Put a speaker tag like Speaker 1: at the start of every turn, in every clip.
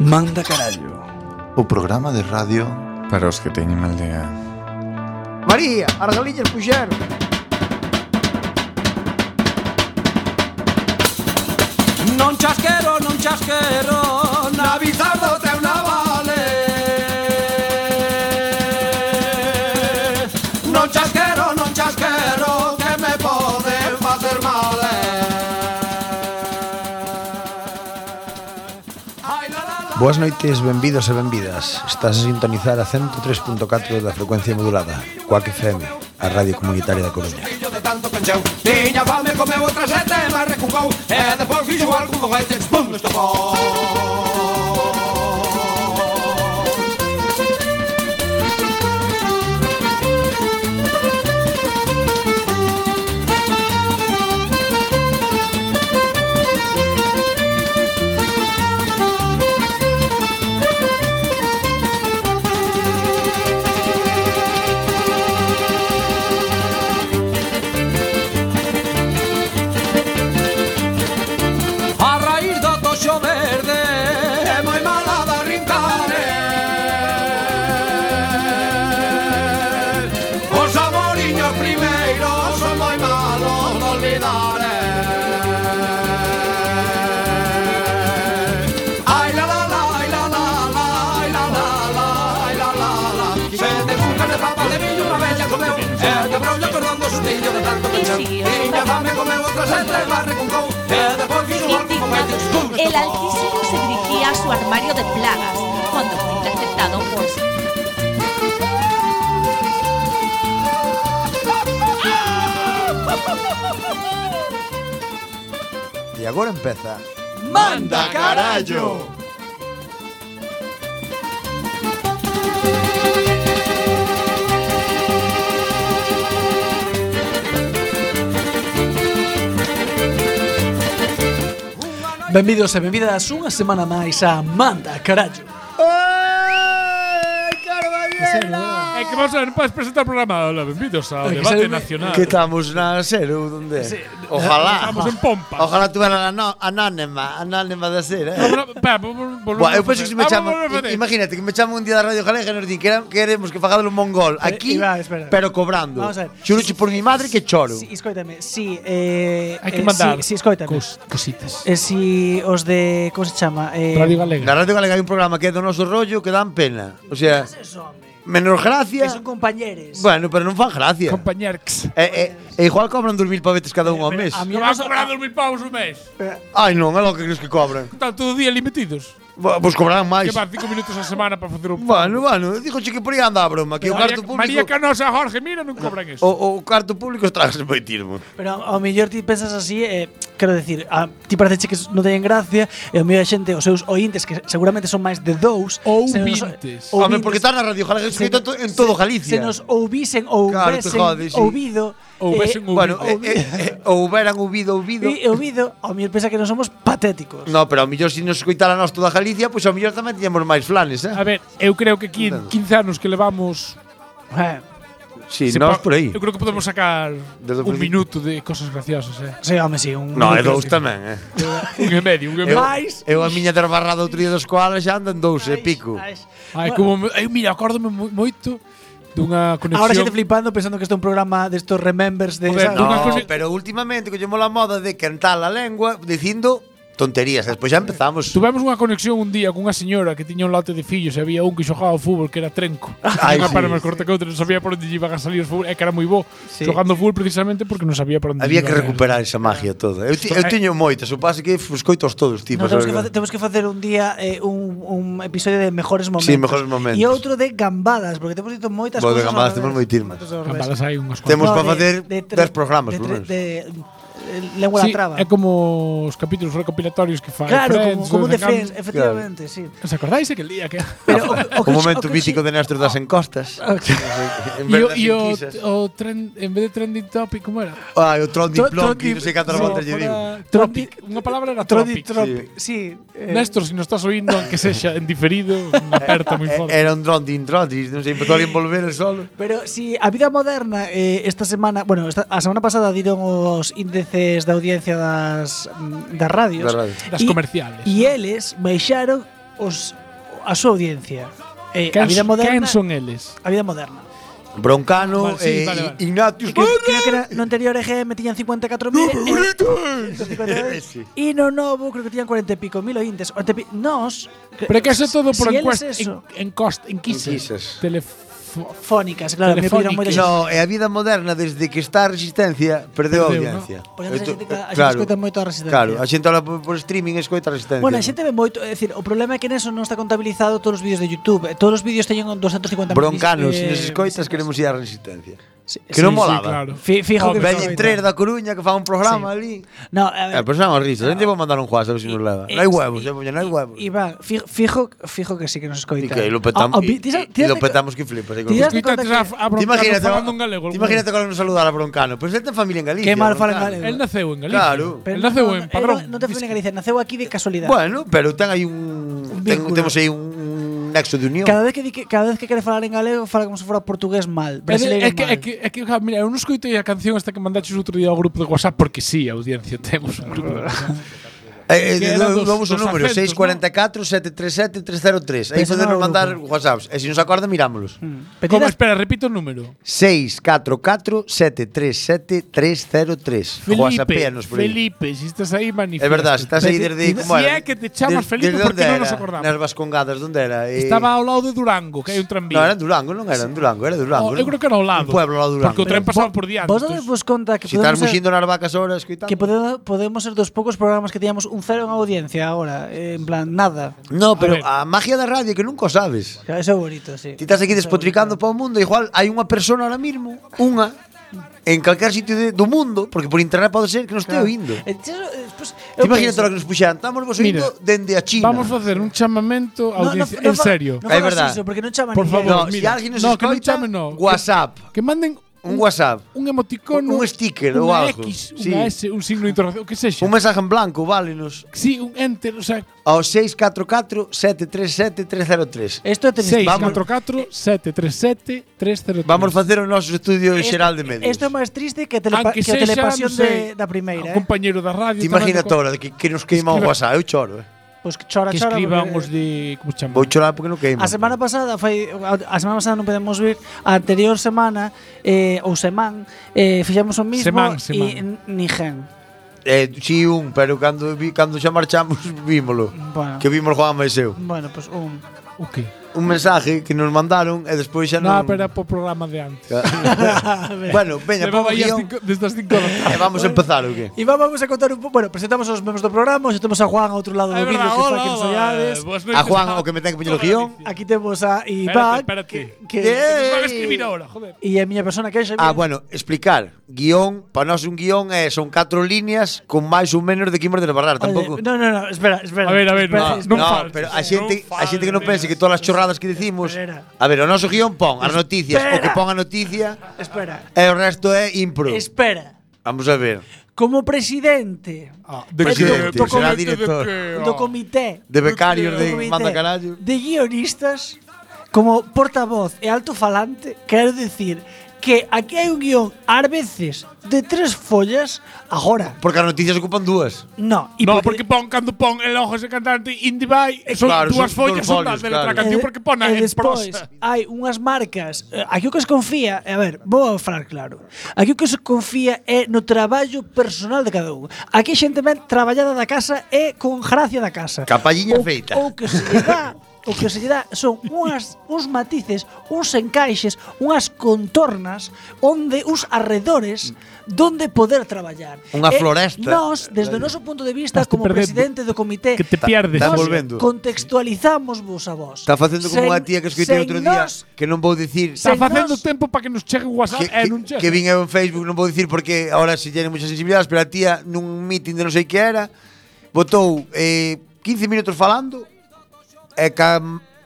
Speaker 1: Manda carallo
Speaker 2: O programa de radio
Speaker 3: Para os que teñen mal día
Speaker 4: María, Argalillas puxeron
Speaker 5: Non chasquero, non chasquero Na bizardo te una vale Non chasquero, non chasquero Que me pode facer mal
Speaker 4: Boas noites, benvidos e benvidas Estás a sintonizar a 103.4 da frecuencia modulada Coac FM, a radio comunitaria da Coruña
Speaker 5: Fillo de tanto cancheu Tiña fame, comeu outra sete Mas recucou E depois fixo algún goguete Pum, estopou A raíz do toxo verde É moi mala da rincare Os amoriños primeiros Son moi malos de olvidar eh. Ai la la la, ai la la la Ai la la la, ai la la la Sete cucas de papa de millo Unha vella comeu E de brollo perdón do sustillo De tanto penseu Tiña fame comeu outra sete Barre con cou E depois fixo algo con gallos Pum,
Speaker 6: El alquísero se dirigía a su armario de plagas cuando fue interceptado por...
Speaker 4: E agora empeza
Speaker 5: ¡Manda carallo!
Speaker 1: Benvidos e benvidas unha semana máis a Manda carallo
Speaker 7: É que vamos a ver, podes presentar o programa Ola, benvidos ao
Speaker 1: É que
Speaker 7: debate
Speaker 1: sabe-
Speaker 7: nacional
Speaker 8: Que estamos na SER ou donde?
Speaker 1: Sí.
Speaker 8: Ojalá.
Speaker 7: Estamos en pompa
Speaker 8: Ojalá tuveran ano anónima, anónima da SER, eh?
Speaker 7: Vamos a- pera, vol- volvemos
Speaker 8: Buah, eu
Speaker 7: a
Speaker 8: penso que
Speaker 7: facer.
Speaker 8: se me
Speaker 7: Ah,
Speaker 8: chamo,
Speaker 7: volvemos a facer.
Speaker 8: imagínate que me chamo un día da Radio Galega e nos din "Quere- queremos que fagadelo un mongol aquí,
Speaker 9: Iván, espera.
Speaker 8: pero cobrando.
Speaker 9: Vamos a ver.
Speaker 8: Xuroche por mi madre que choro.
Speaker 9: Si, escoítame, si, eh,
Speaker 7: Hai que
Speaker 9: eh,
Speaker 7: mandar
Speaker 9: si, si, escoítame.
Speaker 7: cos- cositas
Speaker 9: Eh, si os de, como se chama? Eh,
Speaker 7: Radio
Speaker 8: Na
Speaker 7: Galega
Speaker 8: Radio Galega hai un programa que é do noso rollo que dan pena. O sea, menos
Speaker 9: que
Speaker 8: gracia.
Speaker 9: son compañeros.
Speaker 8: Bueno, pero non fan gracia.
Speaker 7: Compañerx
Speaker 8: E, e, e igual cobran 2000 pavetes cada un ao mes.
Speaker 9: a mí o
Speaker 7: Que van
Speaker 9: noso,
Speaker 7: cobrar 2.000 pavos un mes
Speaker 8: Ai non, é lo que crees que cobran.
Speaker 7: Están todo o día ali metidos
Speaker 8: Bo- Pois cobrarán máis.
Speaker 7: Que van 5 minutos a semana para facer un
Speaker 8: Bueno, bueno, dígoche que por aí anda a broma, que o
Speaker 7: María,
Speaker 8: carto público
Speaker 7: María Canosa, Jorge, mira, non cobran eso
Speaker 8: o, o carto público estragas moi tirmo.
Speaker 9: pero ao mellor ti pensas así, eh, quero decir, a, ti parece que non teñen gracia, e ao mellor a xente, os seus ointes, que seguramente son máis de dous,
Speaker 7: Ou
Speaker 9: se nos-
Speaker 7: vintes.
Speaker 8: Home,
Speaker 9: ouvintes,
Speaker 8: porque está na Radio Galega
Speaker 9: se-
Speaker 8: escrito en todo Galicia.
Speaker 9: Se nos ouvisen ou
Speaker 8: Claro, te
Speaker 9: vesen
Speaker 8: jodes, sí.
Speaker 9: ouvido,
Speaker 7: Ou vesen
Speaker 9: eh,
Speaker 7: ouvido.
Speaker 8: bueno,
Speaker 9: ouvi-
Speaker 8: eh, eh, eh, houberan ouvido, ouvido.
Speaker 9: e ouvido, ao mellor pensa que non somos patéticos.
Speaker 8: No, pero ao mellor se nos escoitara nós toda Galicia, pois ao mellor tamén tiñamos máis flanes,
Speaker 7: A
Speaker 8: eh?
Speaker 7: ver, eu creo que aquí en 15 anos que levamos
Speaker 9: Eh,
Speaker 8: Si,
Speaker 7: se
Speaker 8: nós por
Speaker 7: po-
Speaker 8: aí.
Speaker 7: Eu creo que podemos sacar
Speaker 8: Desde o
Speaker 7: un
Speaker 8: principio.
Speaker 7: minuto de cosas graciosas, eh.
Speaker 9: sí, home, sí, un
Speaker 8: No, é
Speaker 7: creo
Speaker 8: dous
Speaker 7: que-
Speaker 8: tamén, eh.
Speaker 7: Un e medio, un e
Speaker 8: Eu,
Speaker 7: medio.
Speaker 8: eu a miña desbarrada outro día dos coalas xa andan dous e pico.
Speaker 7: Ai, como me- eu mira, acórdome mo- moito dunha conexión.
Speaker 9: Ahora xente flipando pensando que este é un programa destos remembers de
Speaker 7: Joder,
Speaker 9: ¿sabes?
Speaker 7: Dunha
Speaker 8: No,
Speaker 7: cosa-
Speaker 8: pero últimamente que llevo la moda de cantar a lengua dicindo tonterías, e despois xa empezamos.
Speaker 7: Tuvemos unha conexión un día cunha señora que tiña un lote de fillos e había un que xogaba ao fútbol que era trenco.
Speaker 8: Ai,
Speaker 7: Unha
Speaker 8: sí.
Speaker 7: para máis corta que outra, non sabía por onde iban a salir os fútbol, é que era moi bo
Speaker 9: Sí.
Speaker 7: xogando fútbol precisamente porque non sabía por onde
Speaker 8: Había
Speaker 7: iba
Speaker 8: que
Speaker 7: a-
Speaker 8: recuperar esa magia toda. Eu, ti- eu tiño moitas, o pase que fuscoitos todos, tipo,
Speaker 9: No, temos, que facer,
Speaker 8: sabes?
Speaker 9: temos que facer un día eh, un, un episodio de mejores momentos.
Speaker 8: Sí, mejores momentos.
Speaker 9: E outro de gambadas, porque temos dito moitas
Speaker 8: Bo, de
Speaker 9: cousas.
Speaker 8: gambadas
Speaker 9: ao
Speaker 8: temos
Speaker 9: revés,
Speaker 8: moitísimas.
Speaker 9: moitas ao revés.
Speaker 7: Gambadas hai unhas
Speaker 8: Temos- pa
Speaker 7: cuantas.
Speaker 9: de-
Speaker 8: facer
Speaker 9: de tre-
Speaker 8: dez programas,
Speaker 9: de
Speaker 8: por
Speaker 9: tre-
Speaker 8: menos.
Speaker 9: de, eh, lengua
Speaker 7: Sí,
Speaker 9: la traba.
Speaker 7: é como os capítulos recopilatorios que fai
Speaker 9: claro, como,
Speaker 7: Friends,
Speaker 9: como de
Speaker 7: Gam-
Speaker 9: Friends, efectivamente, sí.
Speaker 7: Os acordáis aquel día que
Speaker 9: Pero o,
Speaker 8: O momento mítico de Nastro das encostas. en
Speaker 7: E o,
Speaker 8: verdad,
Speaker 7: e o,
Speaker 8: sin quisas.
Speaker 7: o tren, en vez de trending topic, como era?
Speaker 8: Ai, Ah, o Trondi
Speaker 9: Tro-
Speaker 8: Plonki,
Speaker 9: Trondi-
Speaker 8: non sei cantas
Speaker 9: no,
Speaker 8: voltas lle
Speaker 7: Era
Speaker 8: digo.
Speaker 7: Tropic. Unha palabra era
Speaker 9: Trodi
Speaker 7: tropic.
Speaker 9: Tropic. Sí. eh,
Speaker 7: Néstor, se non estás oindo, aunque sexa en diferido, aperta moi
Speaker 8: Eh,
Speaker 7: forte.
Speaker 8: Era un Trondi in Trondi, e non sei, empezou a envolver el solo.
Speaker 9: Pero si a vida moderna eh, esta semana, bueno, esta, a semana pasada diron os índices de audiencia das mm, das radios.
Speaker 8: Da radio.
Speaker 7: Das
Speaker 9: e-
Speaker 7: comerciales.
Speaker 9: E eles baixaron os a súa audiencia. Eh, a
Speaker 7: Quen-
Speaker 9: vida moderna,
Speaker 7: quen son eles?
Speaker 9: a vida moderna.
Speaker 8: Broncano,
Speaker 7: Vale, sí,
Speaker 8: eh,
Speaker 7: vale, vale.
Speaker 8: Ignatius.
Speaker 9: Que, creo que era, no anterior E EGM tiñan 54.000 e
Speaker 8: Sí.
Speaker 9: eh, no novo creo que tiñan 40 e pico mil ointes. O te pi- Nos que-
Speaker 7: Pero que eso todo
Speaker 9: si
Speaker 7: por
Speaker 9: eles
Speaker 7: encuestas.
Speaker 9: eso,
Speaker 7: En, cost, enquisas.
Speaker 4: Enquisas.
Speaker 7: Telefo-
Speaker 9: fónicas, claro, me pidieron moitas
Speaker 7: Telefónicas.
Speaker 8: No, e a vida moderna desde que está a resistencia perdeu a
Speaker 7: Perdeu,
Speaker 8: audiencia.
Speaker 9: Por exemplo, Pois a
Speaker 8: Esto-
Speaker 9: xente que- a xente
Speaker 8: claro,
Speaker 9: escoita moito a Resistencia.
Speaker 8: Claro, a xente ahora por, por streaming escoita a resistencia.
Speaker 9: Bueno, a xente ve moito, é dicir, o problema é que neso non está contabilizado todos os vídeos de YouTube. Eh, Todos os vídeos teñen 250.000
Speaker 8: Broncano, se nos
Speaker 9: nos
Speaker 8: escoitas queremos ir á resistencia.
Speaker 9: Sí,
Speaker 8: Que non
Speaker 7: Sí,
Speaker 8: molaba.
Speaker 7: claro.
Speaker 9: Fi- fijo que
Speaker 8: Veñen tres da Coruña que fan un programa
Speaker 9: Sí.
Speaker 8: ali.
Speaker 9: No, a
Speaker 8: Eh,
Speaker 9: ver,
Speaker 8: pero son as risas, non te vou mandar un WhatsApp se nos leva.
Speaker 9: Eh,
Speaker 8: Non hai huevos, eh,
Speaker 9: eh,
Speaker 8: poña, non hai huevos.
Speaker 9: Iván, fi- fijo, fijo que sí que nos
Speaker 8: E
Speaker 9: escoita.
Speaker 8: que lo
Speaker 9: Ah,
Speaker 8: petamos,
Speaker 9: ah, vi-
Speaker 8: e
Speaker 9: tira-
Speaker 8: e- e
Speaker 9: tírate
Speaker 8: lo
Speaker 9: co-
Speaker 8: petamos que flipas. eh, con-
Speaker 9: Tira-
Speaker 8: Te
Speaker 7: Escoitas a, a Broncano
Speaker 8: imagínate,
Speaker 7: falando en galego.
Speaker 8: te imagínate que ahora nos saludar a Broncano, pero se te familia en Galicia.
Speaker 9: Qué mal fala en
Speaker 8: Broncano.
Speaker 9: galego.
Speaker 7: Él naceu en Galicia.
Speaker 8: Claro.
Speaker 9: Pero
Speaker 7: Él
Speaker 9: no,
Speaker 7: naceu
Speaker 9: no,
Speaker 7: en
Speaker 9: eh,
Speaker 7: Padrón.
Speaker 9: No, no te fui en Galicia, naceu aquí de casualidade.
Speaker 8: Bueno, pero ten aí un, ten,
Speaker 9: vínculo.
Speaker 8: temos aí un nexo de unión.
Speaker 9: cada vez que di que cada vez que quere falar en galego, fala como se fora portugués mal,
Speaker 7: É, de-
Speaker 9: brasileiro
Speaker 7: é que,
Speaker 9: mal.
Speaker 7: é que, é que, ja, mira, eu non escoitei a canción esta que mandaches outro día ao grupo de WhatsApp porque sí, a audiencia temos un grupo de WhatsApp.
Speaker 8: Eh, eh,
Speaker 7: Que eran
Speaker 8: do-
Speaker 7: dos-
Speaker 8: damos o
Speaker 7: dos
Speaker 8: número
Speaker 7: acentos,
Speaker 8: 644 737 303. Aí
Speaker 9: Pero
Speaker 8: podenos
Speaker 9: no,
Speaker 8: mandar WhatsApps, e se nos acorda mirámolos.
Speaker 7: Como,
Speaker 9: Petidas-
Speaker 7: espera, repito o número.
Speaker 8: 644 737 303. WhatsAppeanos por aí.
Speaker 7: Felipe, si estás aí, manifiesta.
Speaker 8: É verdade, estás aí desde
Speaker 7: Si
Speaker 8: como
Speaker 7: é que te chamas
Speaker 8: Des-
Speaker 7: Felipe,
Speaker 8: desde
Speaker 7: porque
Speaker 8: onde
Speaker 7: non nos
Speaker 8: era?
Speaker 7: acordamos.
Speaker 8: Nas Vascongadas, onde era? Eh,
Speaker 7: Estaba ao lado de Durango, que hai un
Speaker 8: No, era
Speaker 7: tranvía.
Speaker 8: en Durango, non era en Durango, era en Durango.
Speaker 7: Oh, eu
Speaker 8: non?
Speaker 7: creo que era ao lado.
Speaker 8: Un pueblo ao lado de Durango.
Speaker 7: Porque o tren pasaba por diante.
Speaker 9: Vos
Speaker 7: entonces-
Speaker 9: vos conta que
Speaker 8: Si estás
Speaker 9: podemos ser,
Speaker 8: muxindo nas vacas ahora escuitando.
Speaker 9: que pode- podemos ser dos poucos programas que teñamos un cero en audiencia agora, eh, en plan nada.
Speaker 8: No,
Speaker 7: A
Speaker 8: pero
Speaker 7: ver.
Speaker 8: a, magia da radio que nunca o sabes.
Speaker 9: Claro, Eso é bonito, sí.
Speaker 8: Ti estás aquí despotricando para o mundo, igual hai unha persona ahora mismo, unha en calquer sitio de, do mundo, porque por internet pode ser que non estea oindo.
Speaker 9: Eh, ti- eh, despois, eu
Speaker 8: Ti imagínate
Speaker 9: penso-
Speaker 8: lo que nos puxeran, estamos vos
Speaker 7: Mira,
Speaker 8: oindo dende a China.
Speaker 7: Vamos facer un chamamento a
Speaker 9: No, no,
Speaker 7: audiencia.
Speaker 9: no
Speaker 7: en
Speaker 9: fa-
Speaker 7: serio.
Speaker 9: No
Speaker 8: É
Speaker 9: fagas
Speaker 8: verdade.
Speaker 9: iso, porque non chama
Speaker 7: Por
Speaker 9: ninguén.
Speaker 7: favor,
Speaker 8: No, si
Speaker 7: mira.
Speaker 8: alguén nos
Speaker 7: No, que non
Speaker 8: escoita,
Speaker 7: chamen, no.
Speaker 8: WhatsApp.
Speaker 7: Que manden
Speaker 8: Un WhatsApp.
Speaker 7: un emoticono,
Speaker 8: Un sticker ou
Speaker 7: unha
Speaker 8: algo.
Speaker 7: X,
Speaker 8: Sí.
Speaker 7: unha S, un signo de interrogación, o que sexa.
Speaker 8: Un mensaje en blanco, válenos.
Speaker 7: Sí, un enter, o sea,
Speaker 8: Ao 644-737-303.
Speaker 7: Eh,
Speaker 9: Isto é triste.
Speaker 7: 644 737 303.
Speaker 8: Vamos facer o noso estudio xeral de medios.
Speaker 9: Isto é máis triste que a, telepa que
Speaker 7: Aunque
Speaker 9: a
Speaker 7: sexa,
Speaker 9: telepasión
Speaker 7: non sei,
Speaker 9: de, da primeira,
Speaker 7: a
Speaker 9: eh?
Speaker 7: un compañeiro da radio.
Speaker 8: Ti imagina
Speaker 7: tamén,
Speaker 8: ahora que, que nos queima o
Speaker 7: Escriba-
Speaker 8: WhatsApp, eu choro. Eh.
Speaker 9: Pois que Pues chora,
Speaker 7: Que
Speaker 9: chora.
Speaker 7: escriban
Speaker 9: porque-
Speaker 7: os de... Como se chama?
Speaker 8: Vou chorar porque non queima.
Speaker 9: A semana pasada foi a semana pasada non podemos vir, a anterior semana eh, ou semán eh, fixemos o mismo
Speaker 7: Semán,
Speaker 9: e
Speaker 7: semán.
Speaker 9: n- ni gen.
Speaker 8: Eh, si un, pero cando vi cando xa marchamos vímolo.
Speaker 9: Bueno.
Speaker 8: Que vimos Juan máis eu.
Speaker 9: Bueno, pois un
Speaker 7: O qué?
Speaker 8: Un mensaje que nos mandaron e despois xa
Speaker 7: No,
Speaker 8: non.
Speaker 7: pero era pro programa de antes.
Speaker 8: bueno, veña,
Speaker 7: Levaba
Speaker 8: pon o
Speaker 7: aí as
Speaker 8: guión.
Speaker 7: cinco, desde as 5 da
Speaker 8: E
Speaker 7: tarde.
Speaker 8: vamos a empezar o que?
Speaker 9: E va- vamos a contar un pouco, bueno, presentamos os membros do programa, hoxe temos a Juan ao outro lado
Speaker 7: É
Speaker 9: do vídeo
Speaker 7: verdad,
Speaker 9: que está
Speaker 7: hola, Pues
Speaker 9: aquí nos
Speaker 7: hola.
Speaker 9: ollades.
Speaker 7: Boas noites
Speaker 8: A Juan o que me ten que poñer o guión.
Speaker 9: Aquí temos a Iván
Speaker 7: Espérate, espérate.
Speaker 9: que
Speaker 8: Yeah.
Speaker 7: Estaba a escribir ahora, joder.
Speaker 9: e a miña persona que é Xavier.
Speaker 8: Ah, bueno, explicar. Guión, para nós un guión é son catro líneas con máis ou menos de que imos de barrar,
Speaker 9: Oye,
Speaker 8: tampouco.
Speaker 9: No, no, no, espera, espera.
Speaker 7: A ver, a ver,
Speaker 9: espera,
Speaker 7: no,
Speaker 9: espera.
Speaker 8: No,
Speaker 7: faltes,
Speaker 8: pero a
Speaker 7: non
Speaker 8: xente, a xente que non pense que todas as chorradas que dicimos
Speaker 9: Espera.
Speaker 8: A ver, o noso guión pon as noticias O que
Speaker 9: Espera.
Speaker 8: pon a noticia
Speaker 9: Espera,
Speaker 8: E o resto é impro
Speaker 9: espera.
Speaker 8: Vamos a ver
Speaker 9: Como presidente
Speaker 7: De
Speaker 8: Ah, Presidente,
Speaker 7: que-
Speaker 8: será
Speaker 7: documento de
Speaker 8: director.
Speaker 7: que-
Speaker 9: do comité
Speaker 8: De becarios
Speaker 9: do
Speaker 8: de
Speaker 9: comité
Speaker 8: Manda Carallo
Speaker 9: de guionistas como portavoz e altofalante, quero dicir que aquí hai un guión ás veces de tres follas agora.
Speaker 8: Porque as noticias ocupan dúas
Speaker 9: No, e
Speaker 7: No, porque pon, cando pon el ojo ese cantante Indie by, son
Speaker 8: claro,
Speaker 7: dúas
Speaker 8: son
Speaker 7: follas,
Speaker 8: dous
Speaker 7: son das
Speaker 8: folios,
Speaker 7: de letra
Speaker 8: claro.
Speaker 7: canción, porque pon
Speaker 9: e
Speaker 7: en
Speaker 9: despois
Speaker 7: prosa.
Speaker 9: hai unhas marcas eh, Aquí o que se confía A ver, vou a falar claro Aquí o que se confía é no traballo personal de cada un Aquí hai xente ben traballada da casa E con gracia da casa
Speaker 8: Capalliña
Speaker 9: ou,
Speaker 8: feita.
Speaker 9: Ou que se lle dá O que se lle dá son unhas, uns matices, uns encaixes, unhas contornas, onde uns arredores donde poder traballar.
Speaker 8: Unha
Speaker 9: E
Speaker 8: floresta.
Speaker 9: Nós, desde o noso punto de vista,
Speaker 7: Estás te
Speaker 9: como
Speaker 7: perdendo.
Speaker 9: presidente do comité,
Speaker 7: Que te pierdes.
Speaker 8: Está
Speaker 9: Nós
Speaker 8: volvendo.
Speaker 9: Contextualizamos vos a vos.
Speaker 8: Está facendo como
Speaker 9: Sen-
Speaker 8: unha tía que escoitei
Speaker 9: sen
Speaker 8: outro día
Speaker 9: nós-
Speaker 8: Que non vou dicir
Speaker 7: Está
Speaker 9: sen
Speaker 7: facendo
Speaker 9: nós-
Speaker 7: tempo para que nos chegue un
Speaker 8: que,
Speaker 7: WhatsApp e non
Speaker 8: que,
Speaker 7: chega.
Speaker 8: que vin eu en Facebook, non vou dicir porque ahora se llenen moitas sensibilidades, pero a tía nun meeting de non sei que era, botou eh, 15 minutos falando e ca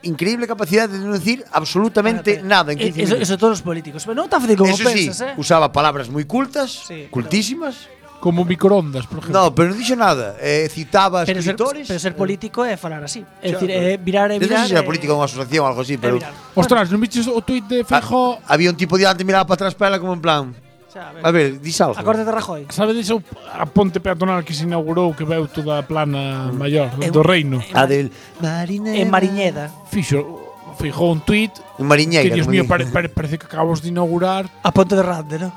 Speaker 8: increíble capacidade de non dicir absolutamente nada en 15
Speaker 9: Eh, Eso,
Speaker 8: minutos.
Speaker 9: eso todos os políticos. Pero non está fácil como
Speaker 8: Eso sí,
Speaker 9: pensas, eh?
Speaker 8: usaba palabras moi cultas,
Speaker 9: Sí,
Speaker 8: cultísimas.
Speaker 7: Como microondas, por exemplo.
Speaker 8: No, pero non dixo nada. Eh, citaba a
Speaker 9: Pero ser,
Speaker 8: escritores. eh.
Speaker 9: pero ser político é falar así. É
Speaker 8: Claro.
Speaker 9: dicir, é virar e
Speaker 8: Non sei
Speaker 9: virar.
Speaker 8: se era
Speaker 9: e-
Speaker 8: política ou unha asociación ou algo así,
Speaker 9: e
Speaker 8: pero...
Speaker 9: virar.
Speaker 8: Ah.
Speaker 7: Ostras, non viches o tweet de Feijó
Speaker 8: Había un tipo diante miraba para atrás para ela como en plan
Speaker 9: Xa, a ver.
Speaker 8: A ver, dis algo.
Speaker 9: Acórdate de Rajoy.
Speaker 7: Sabedes o a ponte peatonal que se inaugurou que veu toda a plana maior do reino?
Speaker 8: A del Marinera.
Speaker 9: En Mariñeda.
Speaker 7: Fixo, fijou un tweet
Speaker 8: En
Speaker 7: que,
Speaker 8: Mariñeira.
Speaker 7: Dios
Speaker 8: como di.
Speaker 7: mío, pare- pare- parece que acabamos de inaugurar
Speaker 9: A Ponte de Rande, ¿no?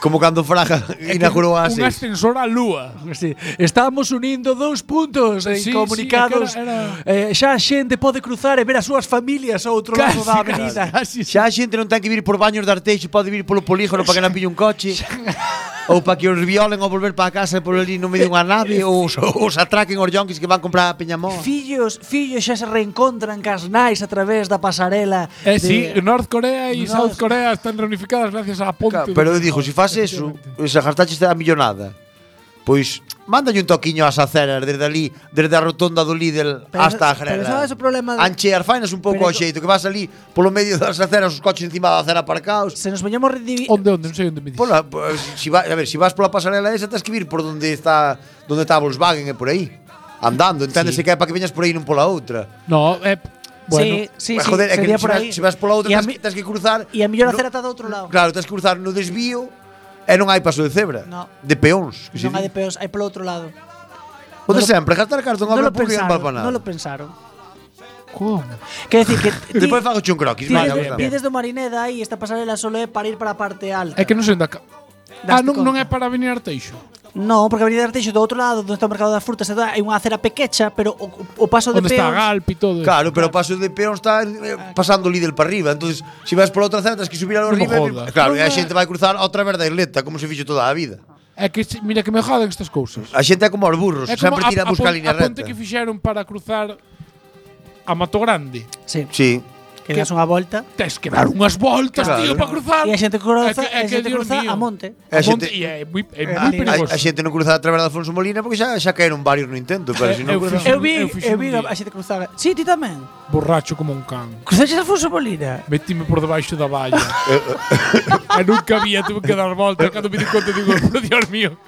Speaker 8: Como cando Fraga inaugurou a
Speaker 7: un
Speaker 8: seis.
Speaker 7: ascensor á lúa.
Speaker 1: Sí, estamos unindo dous puntos en
Speaker 7: Sí,
Speaker 1: comunicados.
Speaker 7: sí, é que era-
Speaker 1: Eh, xa a xente pode cruzar e ver as súas familias ao outro lado
Speaker 7: Casi,
Speaker 1: da avenida.
Speaker 7: casi, casi.
Speaker 8: Xa a xente non ten que vir por baños de arteixo, pode vir polo polígono para que non pille un coche. ou para que os violen ao volver para casa e por ali no medio dunha nave ou os, os atraquen os yonkis que van comprar a Peñamoa.
Speaker 9: Fillos, fillos xa se reencontran cas nais a través da pasarela. de-
Speaker 7: Eh, sí, North Corea y
Speaker 9: North-
Speaker 7: South Corea están reunificadas gracias a ponte.
Speaker 8: Ca-
Speaker 7: do-
Speaker 8: Pero eu
Speaker 9: "Oh,
Speaker 8: dixo, se faz eso, eh, se gastaches a millonada, pois mándalle un toquiño ás aceras desde ali, desde a rotonda do Lidl
Speaker 9: Pero
Speaker 8: hasta a
Speaker 9: sa- pero
Speaker 8: Grela.
Speaker 9: sabes o problema de-
Speaker 8: Anchear, fainas un pouco ao
Speaker 9: Pero co-
Speaker 8: xeito, que vas ali polo medio das aceras, os coches encima da acera aparcados.
Speaker 9: Se nos veñamos redivir...
Speaker 7: Onde, onde, non sei onde me dis.
Speaker 8: Pola, pois, si va, a ver, si vas pola pasarela esa, tens que vir por onde está onde está a Volkswagen e por aí. Andando, enténdese sí. que é para que veñas por aí non pola outra.
Speaker 7: No, eh, bueno.
Speaker 9: sí, sí,
Speaker 8: Ah,
Speaker 9: sí,
Speaker 8: joder, é que
Speaker 9: sería
Speaker 8: se
Speaker 9: por
Speaker 8: vas,
Speaker 9: aí.
Speaker 8: se vas pola outra,
Speaker 9: E a
Speaker 8: tens,
Speaker 9: mi-
Speaker 8: que, tens que cruzar.
Speaker 9: E a mellor
Speaker 8: no-
Speaker 9: acera está do outro lado.
Speaker 8: Claro, tens que cruzar no desvío e non hai paso de cebra.
Speaker 9: No.
Speaker 8: De peóns. que se
Speaker 9: non hai
Speaker 8: di.
Speaker 9: de peos, hai polo outro lado.
Speaker 8: O de
Speaker 9: no lo-
Speaker 8: sempre, gastar cartón
Speaker 9: Non
Speaker 8: obra
Speaker 9: lo
Speaker 8: pública non
Speaker 9: pensaron,
Speaker 8: vale para nada.
Speaker 9: non lo pensaron.
Speaker 7: Como?
Speaker 9: Quer decir que
Speaker 8: E Depois fago un croquis,
Speaker 9: Ti
Speaker 8: vale,
Speaker 9: desde-
Speaker 8: bien,
Speaker 9: ti
Speaker 8: bien.
Speaker 9: desde o Marineda aí esta pasarela solo é para ir para a parte alta.
Speaker 7: É que non sei onde acaba. Ah,
Speaker 9: Daste
Speaker 7: non, non
Speaker 9: conta.
Speaker 7: é para venir Arteixo.
Speaker 9: No, porque a Avenida Arteixo do outro lado onde está o mercado das frutas e tal, hai unha acera pequecha, pero o, o paso de
Speaker 7: Onde está
Speaker 9: peóns
Speaker 7: Galp e todo. eso.
Speaker 8: Claro, pero o paso de peón está eh, pasando o Lidl para arriba Entonces, se vas pola outra zona, tens que subir a
Speaker 7: Non me
Speaker 8: arriba e-
Speaker 7: jodas.
Speaker 8: Claro, e a
Speaker 7: Non é-
Speaker 8: xente vai cruzar outra vez da isleta Como se fixo toda a vida
Speaker 7: É que se- mira que me joden estas cousas.
Speaker 8: A xente é como os burros,
Speaker 7: É
Speaker 8: sempre tira a buscar a
Speaker 7: pon-
Speaker 8: línea
Speaker 7: a
Speaker 8: recta
Speaker 7: ponte que fixeron para cruzar a Mato Grande.
Speaker 9: Sí,
Speaker 8: Sí,
Speaker 9: que das unha volta
Speaker 7: Tes que dar unhas voltas,
Speaker 8: Claro.
Speaker 7: tío, para cruzar.
Speaker 9: e a xente
Speaker 7: É
Speaker 9: cruza,
Speaker 7: que-
Speaker 9: e
Speaker 7: é
Speaker 9: a
Speaker 7: que,
Speaker 9: xente
Speaker 7: Dios
Speaker 9: cruza
Speaker 7: mío.
Speaker 9: a monte.
Speaker 8: A
Speaker 7: A
Speaker 8: xente- Ah,
Speaker 7: monte e é moi, é
Speaker 9: Eh,
Speaker 7: moi
Speaker 8: a,
Speaker 9: a-
Speaker 7: perigoso.
Speaker 8: a xente non cruza a través de Alfonso Molina Porque xa, xa caeron varios no intento Pero se
Speaker 7: Eh,
Speaker 8: non
Speaker 7: eu
Speaker 8: cruzas
Speaker 7: fixo-
Speaker 9: Eu vi,
Speaker 7: eu fixen
Speaker 9: eu vi
Speaker 7: un
Speaker 9: a
Speaker 7: día.
Speaker 9: a xente cruzar. Sí, ti tamén.
Speaker 7: Borracho como un can.
Speaker 9: Cruzaches Alfonso Molina.
Speaker 7: Metime por debaixo da valla. e nunca había, tuve que dar volta. E Cando me di conta, digo, por Dios mío.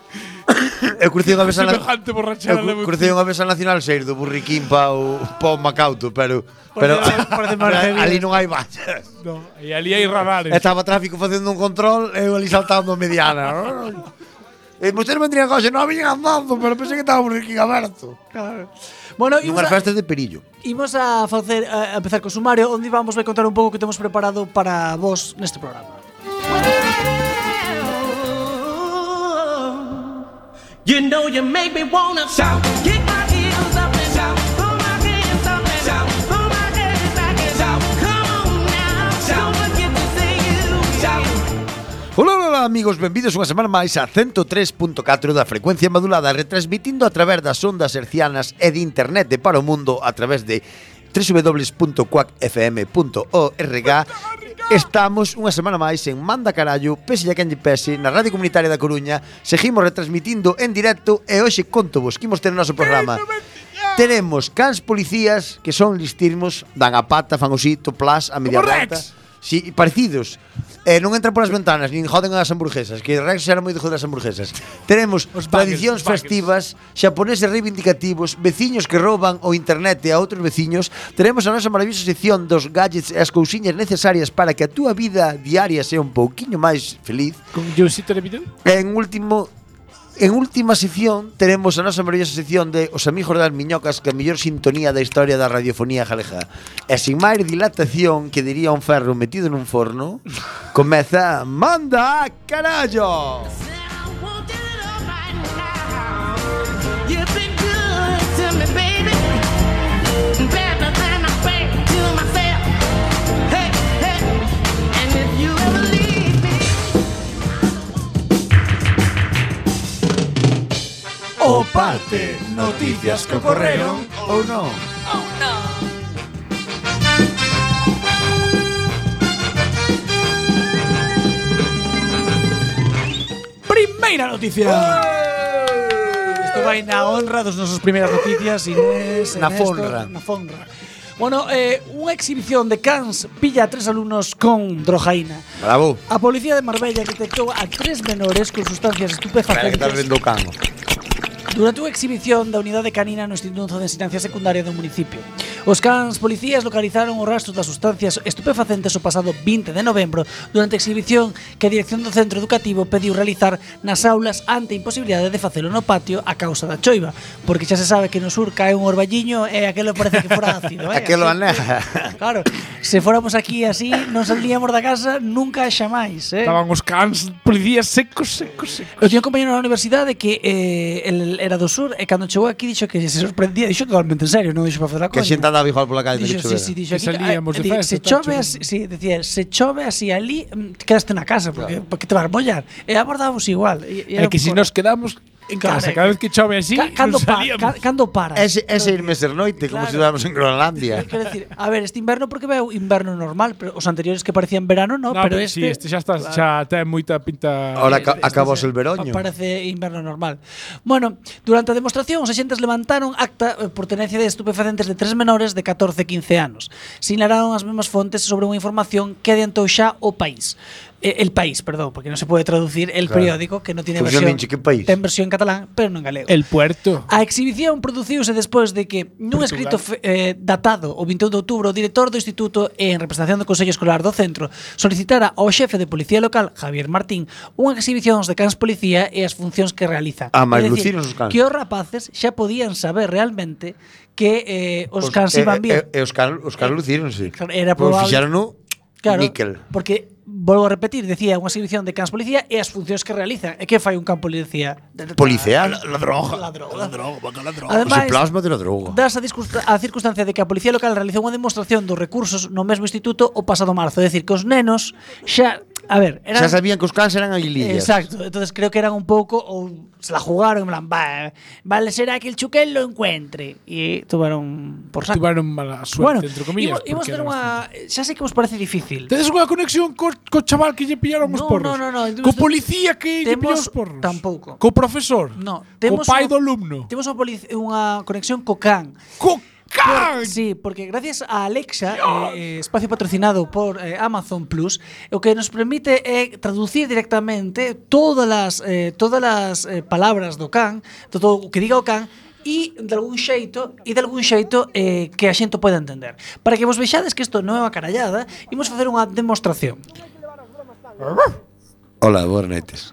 Speaker 8: Eu crucei unha vez a na-
Speaker 7: Semejante borrachera.
Speaker 8: Eu cru- crucei unha vez a Nacional Seis do Burriquín pa o, pa o Macauto Pero, pero
Speaker 9: Parece- parece maravilla.
Speaker 8: ali non hai vallas
Speaker 7: No, e ali hai radares.
Speaker 8: E Estaba tráfico facendo un control e eu ali saltando a mediana. E vostedes vendrían coxe, non viñan andando, pero pensei que estábamos aquí aberto.
Speaker 9: Bueno, imos
Speaker 8: Nunhas
Speaker 9: a,
Speaker 8: festas de perillo.
Speaker 9: imos a facer a a empezar co sumario onde vamos vai contar un pouco o que temos preparado para vos neste programa.
Speaker 5: You know you make me wanna shout. Kick my heels up and shout. Throw my hands up and shout. Throw my hands back and shout. Come on now. Don't forget to say you shout.
Speaker 8: Ola, ola, ola, amigos, benvidos unha semana máis a 103.4 da frecuencia modulada retransmitindo a través das ondas hercianas e de internet de para o mundo a través de www.quackfm.org Estamos unha semana máis en Manda Carallo, pese a quen lle pese, na Radio Comunitaria da Coruña Seguimos retransmitindo en directo e hoxe conto vos que imos ter no noso programa Teremos cans policías que son listirmos, dan a pata, fan o sito, plas, a media
Speaker 7: Como
Speaker 8: volta
Speaker 7: Rex.
Speaker 8: Si, parecidos. Eh, non entran polas ventanas, nin joden as hamburguesas, que Rex era moi de joder as hamburguesas. Teremos
Speaker 7: Os buggers,
Speaker 8: tradicións
Speaker 7: os buggers.
Speaker 8: festivas, xaponeses reivindicativos, veciños que rouban o internet e a outros veciños. Teremos a nosa maravillosa sección dos gadgets e as cousiñas necesarias para que a túa vida diaria sea un pouquiño máis feliz.
Speaker 7: Con Josito Televideo.
Speaker 8: E en último En última sección teremos a nosa maravillosa sección de Os amigos das miñocas que a mellor sintonía da historia da radiofonía galeja. E sin máis dilatación que diría un ferro metido nun forno, comeza Manda a carallo!
Speaker 1: O
Speaker 8: Eh,
Speaker 1: parte, noticias que ocorreron.
Speaker 8: Ou non?
Speaker 1: Primeira noticia. Isto vai na honra dos nosos primeiras noticias, Inés,
Speaker 8: Na
Speaker 1: Ernesto,
Speaker 8: fonra.
Speaker 1: Na fonra. Bueno, eh, unha exhibición de cans pilla a tres alumnos con drogaína.
Speaker 8: Bravo.
Speaker 9: A policía de Marbella detectou a tres menores con
Speaker 8: Espera que
Speaker 9: sustancias
Speaker 8: estás
Speaker 9: estupefacientes
Speaker 8: vendo o cano.
Speaker 9: durante unha exhibición da unidade canina no Instituto de Enseñanza Secundaria do municipio. Os cans policías localizaron os rastros das sustancias estupefacentes o pasado 20 de novembro durante a exhibición que a dirección do centro educativo pediu realizar nas aulas ante a imposibilidade de facelo no patio a causa da choiva, porque xa se sabe que no sur cae un orballiño e aquelo parece que fora ácido, eh?
Speaker 8: Aquelo aneja.
Speaker 9: Claro, se fóramos aquí así, non saldríamos da casa nunca e xa máis, eh?
Speaker 7: Estaban os cans policías secos, secos, secos.
Speaker 9: Eu tiña un compañero na universidade que eh, el era do sur e cando chegou aquí dixo que se sorprendía, dixo totalmente en serio, non dixo para facer a
Speaker 8: Que a
Speaker 9: coña.
Speaker 8: xente andaba igual pola calle
Speaker 9: Dixo,
Speaker 8: dixo,
Speaker 9: sí, sí, dixo,
Speaker 7: Que
Speaker 9: aquí,
Speaker 7: salíamos de
Speaker 9: di-
Speaker 7: festa,
Speaker 9: se
Speaker 7: tal,
Speaker 9: chove
Speaker 7: chove".
Speaker 9: así, sí, decía, se chove así ali, mm, te quedaste na casa, porque, porque te vas mollar. E abordábamos igual. E, e
Speaker 7: É Eh, que si nos quedamos en
Speaker 9: Claro,
Speaker 7: casa
Speaker 9: eh,
Speaker 7: cada vez que chove así,
Speaker 9: Ca- cando,
Speaker 7: non
Speaker 9: pa,
Speaker 7: salíamos.
Speaker 9: ca- cando paras.
Speaker 8: Ese, ese irme ser noite, como
Speaker 9: Claro.
Speaker 8: se estivéramos en Groenlandia.
Speaker 9: Quero dicir, a ver, este inverno porque veu inverno normal, pero os anteriores que parecían verano, no,
Speaker 7: No,
Speaker 9: pero,
Speaker 7: pero
Speaker 9: este,
Speaker 7: sí, este xa está, xa ten moita pinta.
Speaker 8: Ahora
Speaker 9: Este-
Speaker 8: aca-
Speaker 9: este
Speaker 8: acabos
Speaker 9: se-
Speaker 8: el veroño.
Speaker 9: pa- Parece inverno normal. Bueno, durante a demostración, os axentes levantaron acta eh, por tenencia de estupefacentes de tres menores de 14 e 15 anos. Sinalaron as mesmas fontes sobre unha información que adiantou xa o país. Eh, El país, perdón, porque non se pode traducir el
Speaker 8: Claro.
Speaker 9: periódico que non tiene
Speaker 8: Pues yo
Speaker 9: versión.
Speaker 8: minche, que país?
Speaker 9: Ten versión en catalán, pero non en galego.
Speaker 7: El puerto.
Speaker 9: A exhibición produciuse despois de que nun
Speaker 7: Portugal.
Speaker 9: escrito fe- eh, datado o 21 de outubro o director do instituto e en representación do Consello Escolar do Centro solicitara ao xefe de policía local, Javier Martín, unha exhibición de cans policía e as funcións que realiza.
Speaker 8: Ah, máis
Speaker 9: É dicir,
Speaker 8: luciros os cans.
Speaker 9: Que os rapaces xa podían saber realmente que eh,
Speaker 8: Os-
Speaker 9: os,
Speaker 8: eh,
Speaker 9: cans
Speaker 8: e-
Speaker 9: iban bien.
Speaker 8: e- E, os car, os car lucíronse.
Speaker 9: Claro, era
Speaker 8: Pois
Speaker 9: probable.
Speaker 8: fixaron no
Speaker 9: Claro,
Speaker 8: níquel.
Speaker 9: porque volvo a repetir, decía unha exhibición de cans policía e as funcións que realizan. E que fai un can policía?
Speaker 8: Policial.
Speaker 9: La droga. La droga, la droga.
Speaker 8: O se plasma de la droga.
Speaker 9: Das a, discusta- a circunstancia de que a Policía Local realizou unha demostración dos recursos no mesmo instituto o pasado marzo. É dicir, que os nenos xa... A ver, eran...
Speaker 8: Xa sabían que os cans eran aguilillas.
Speaker 9: Exacto, entonces creo que eran un pouco ou se la jugaron en plan, "Va, vale, será que el chuquel lo encuentre y tomaron por saco.
Speaker 7: Tiveron mala suerte,
Speaker 9: bueno,
Speaker 7: entre comillas.
Speaker 9: imos- imos
Speaker 7: porque
Speaker 9: ter
Speaker 7: era
Speaker 9: unha, xa sei que vos parece difícil.
Speaker 7: Tedes unha conexión co, co chaval que lle pillaron os
Speaker 9: No,
Speaker 7: porros?
Speaker 9: no, no, no,
Speaker 7: Co
Speaker 9: temos-
Speaker 7: policía que lle pillou
Speaker 9: temos-
Speaker 7: os porros?
Speaker 9: tampouco.
Speaker 7: Co profesor?
Speaker 9: No,
Speaker 7: co
Speaker 9: temos
Speaker 7: pai
Speaker 9: unha-
Speaker 7: do alumno?
Speaker 9: Temos unha, polic- unha conexión co can.
Speaker 7: Co
Speaker 9: Por-
Speaker 7: can!
Speaker 9: sí, porque gracias a Alexa, eh, eh, espacio patrocinado por eh, Amazon Plus, o que nos permite é traducir directamente todas as eh, todas as eh, palabras do can, todo o que diga o can e de algún xeito e de algún xeito eh, que a xente poida entender. Para que vos vexades que isto non é unha carallada, imos facer unha demostración.
Speaker 8: Hola, boas noites.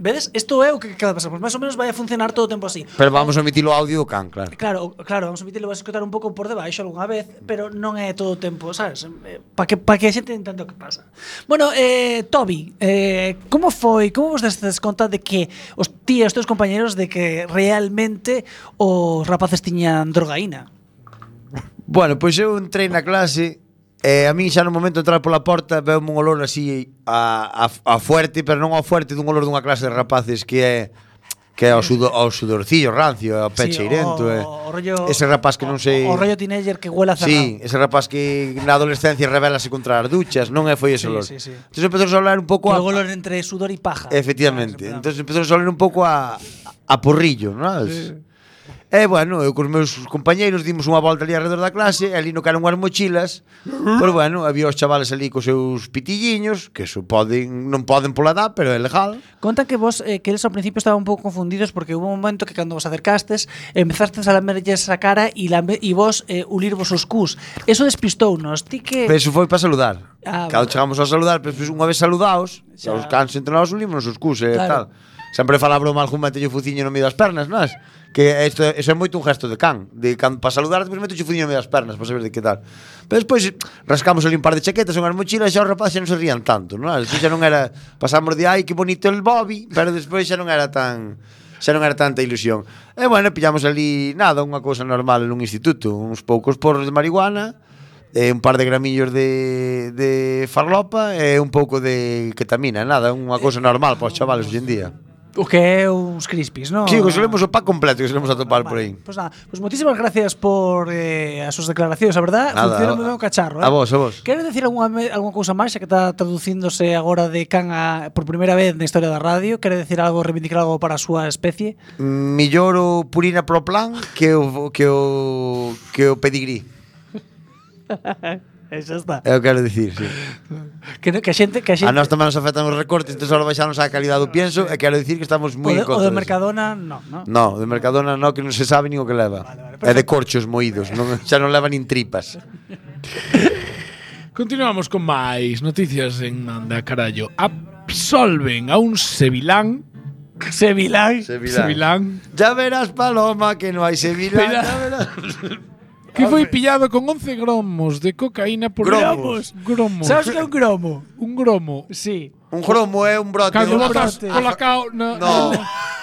Speaker 9: Vedes? Isto é o que cada pasamos. Máis ou menos vai a funcionar todo o tempo así.
Speaker 8: Pero vamos a omitir o audio do can, claro.
Speaker 9: Claro, o- claro, vamos a permitirle vas a escutar un pouco por debaixo algunha vez, pero non é todo o tempo, sabes? Para que para que a xente entenda o que pasa. Bueno, eh Toby, eh como foi? Como vos destes conta de que os ti e os teus compañeiros de que realmente os rapaces tiñan drogaína?
Speaker 8: Bueno, pois eu entrei na clase e a min xa no momento de entrar pola porta veume un olor así a, a, a fuerte, pero non ao fuerte dun olor dunha clase de rapaces que é que é ao, sudo, ao sudorcillo rancio, ao peche irento.
Speaker 9: o-
Speaker 8: eh.
Speaker 9: o rollo-
Speaker 8: ese rapaz que non sei...
Speaker 9: O, o rollo teenager que huela
Speaker 8: Sí,
Speaker 9: cerrado.
Speaker 8: ese rapaz que na adolescencia rebelase contra as duchas, non é foi ese
Speaker 9: Sí,
Speaker 8: olor.
Speaker 9: sí, sí.
Speaker 8: Entón empezamos a hablar un pouco a,
Speaker 9: Que o olor entre sudor e paja.
Speaker 8: Efectivamente.
Speaker 9: Sabes, en plan,
Speaker 8: Entonces empezamos a oler un pouco a, a porrillo, non? Sí. E, bueno, eu cos meus compañeiros dimos unha volta ali alrededor da clase, e ali no caron unhas mochilas, pero, bueno, había os chavales ali cos seus pitilliños, que eso poden, non poden pola edad, pero é legal.
Speaker 9: Contan que vos eh, que eles ao principio estaban un pouco confundidos porque hubo un momento que cando vos acercastes empezastes a lamerlles a cara e lambe, e vos eh, ulirvos os cus. Eso despistounos. Ti que
Speaker 8: Pero eso foi para saludar.
Speaker 9: Ah,
Speaker 8: Cando
Speaker 9: bueno.
Speaker 8: chegamos a saludar, pero despois unha vez saludaos,
Speaker 9: Xa.
Speaker 8: xa os cans entrenados unimos nos cus e
Speaker 9: Claro.
Speaker 8: tal. Sempre fala broma algún metello o fuciño no medio das pernas, nas? Que isto eso é moito un gesto de can, de can para saludar, despois metello o fuciño no medio das pernas, para saber de que tal. Pero despois rascamos ali un par de chaquetas, unhas mochilas, e xa os rapaces xa non se rían tanto, non? Así xa non era pasamos de ai que bonito el Bobby, pero despois xa non era tan xa non era tanta ilusión. E bueno, pillamos ali nada, unha cousa normal nun instituto, uns poucos porros de marihuana, eh, un par de gramillos de, de farlopa e un pouco de ketamina, nada, unha cousa normal para os chavales hoxe en día.
Speaker 9: o que é uns crispis, non?
Speaker 8: Sí, que solemos o pack completo que solemos atopar por aí.
Speaker 9: Vale, Pois pues nada, pois moitísimas gracias por eh, as súas declaracións, a verdad?
Speaker 8: Nada,
Speaker 9: Funciona
Speaker 8: a-
Speaker 9: moi ben o cacharro, eh?
Speaker 8: a vos, a vos.
Speaker 9: Quero decir algunha, me- algunha cousa máis, xa que está traducíndose agora de can a, por primeira vez na historia da radio? Quero decir algo, reivindicar algo para a súa especie?
Speaker 8: Millor o purina pro plan que o que o que o pedigrí.
Speaker 9: E xa está.
Speaker 8: É o que quero dicir, sí.
Speaker 9: Que, no- que a xente... Que a xente
Speaker 8: A nós tamén nos afectan os recortes, entón só baixanos a calidade do pienso e quero dicir que estamos
Speaker 9: o,
Speaker 8: moi en
Speaker 9: de, o
Speaker 8: contra.
Speaker 9: do
Speaker 8: diso.
Speaker 9: Mercadona, no, no.
Speaker 8: No, de Mercadona no, que non se sabe nin o que leva. é de corchos moídos, non, xa non leva nin tripas.
Speaker 7: Continuamos con máis noticias en Manda Carallo. Absolven a un sevilán.
Speaker 9: Sevilán.
Speaker 7: Sevilán.
Speaker 8: Ya verás, Paloma, que non hai Sevilla.
Speaker 7: Espera.
Speaker 8: Ya verás.
Speaker 7: Que foi pillado con 11 gromos de cocaína por
Speaker 8: Gromos.
Speaker 7: gromos.
Speaker 9: Sabes que é un cromo?
Speaker 7: Un gromo.
Speaker 9: Sí.
Speaker 8: Un gromo é un brote.
Speaker 7: Cando
Speaker 8: un-
Speaker 7: botas
Speaker 9: brote.
Speaker 7: pola cao na,
Speaker 8: Ah. No.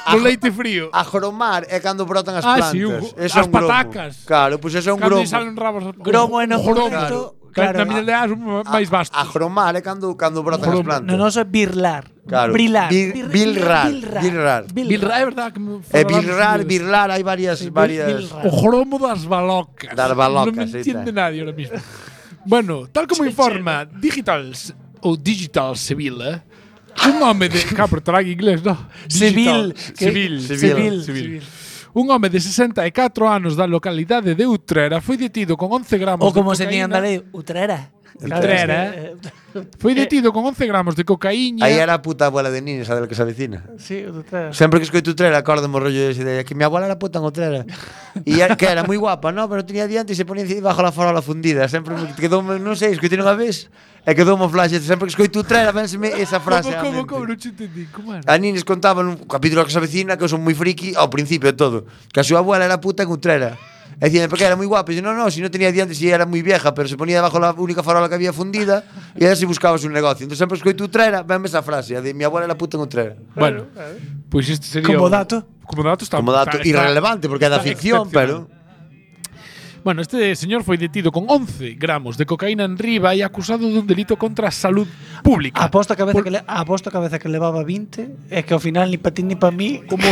Speaker 8: Ah,
Speaker 7: no leite frío.
Speaker 8: A joromar é cando brotan as
Speaker 7: Ah,
Speaker 8: plantas.
Speaker 7: sí, un-
Speaker 8: Eso
Speaker 7: as
Speaker 8: é un gromo.
Speaker 7: patacas.
Speaker 8: Claro, pois eso é un
Speaker 7: Cando
Speaker 8: gromo.
Speaker 7: lle salen rabos. ao-
Speaker 9: Gromo é no
Speaker 7: ao gromo.
Speaker 9: correcto,
Speaker 7: Claro.
Speaker 9: claro.
Speaker 7: Na miña aldea son máis vastos.
Speaker 8: A joromar é cando, cando brotan as
Speaker 7: Gromo.
Speaker 8: plantas.
Speaker 9: No noso é birlar.
Speaker 8: Claro.
Speaker 9: Brilar.
Speaker 8: Bir-
Speaker 9: Bir-
Speaker 8: bilrar,
Speaker 9: Bilrar.
Speaker 8: bilrar.
Speaker 7: Bilra, é verdade que me
Speaker 8: É
Speaker 7: falaban dos
Speaker 8: birrar,
Speaker 7: miúdos.
Speaker 8: birlar, hai varias... varias...
Speaker 9: bilrar.
Speaker 7: O gromo das balocas.
Speaker 8: Das balocas,
Speaker 7: No me
Speaker 8: sí,
Speaker 7: entiende
Speaker 8: tal.
Speaker 7: nadie ahora mismo. bueno, tal como informa Digitals ou Digital Sevilla, un home de... Cá, pero terá en inglés, no?
Speaker 9: Seville,
Speaker 7: Digital-
Speaker 9: que-
Speaker 7: Seville.
Speaker 9: Seville.
Speaker 7: Seville. Un home de 64 anos da localidade de Utrera foi detido con 11 gramos
Speaker 9: Ou como
Speaker 7: de
Speaker 9: se tiña en
Speaker 7: cocaína.
Speaker 9: Andalé, Utrera.
Speaker 7: Utrera.
Speaker 9: eh,
Speaker 7: Foi detido con 11 gramos de cocaíña.
Speaker 8: Aí era a puta abuela de Nini, sabe o que se avecina?
Speaker 9: Sí, Utrera.
Speaker 8: Sempre que escoito Utrera, acordo o rollo ese de que mi abuela era puta en Utrera. E era, que era moi guapa, no, pero tenía diante e se ponía encima bajo la farola fundida. Sempre me quedou, non sei, escoitei unha vez e quedou un flash. Sempre que escoito Utrera, vénseme esa frase. á
Speaker 7: Como,
Speaker 8: mente.
Speaker 7: como, como, non te entendi, como era?
Speaker 8: A Nines contaba nun capítulo que se avecina que eu son moi friki ao principio de todo, que a súa abuela era puta en Utrera. E dicían, porque era moi guapa. E yo, no, no, si non tenía dientes e era moi vieja, pero se ponía debajo la única farola que había fundida e era si buscabas un negocio. Entón sempre escoito Utrera, venme esa frase, a de mi abuela era puta en Utrera.
Speaker 7: Bueno, pois pues este sería...
Speaker 9: Como
Speaker 7: o-
Speaker 9: dato.
Speaker 7: Como dato está...
Speaker 8: Como dato
Speaker 7: está- está-
Speaker 8: irrelevante, porque é da
Speaker 7: está
Speaker 8: ficción, pero...
Speaker 7: Bueno, este señor foi detido con 11 gramos de cocaína en riba e acusado de un delito contra a salud pública.
Speaker 9: Aposto a cabeza que le, aposto a cabeza que levaba 20, é que ao final ni para ti ni para mí.
Speaker 7: como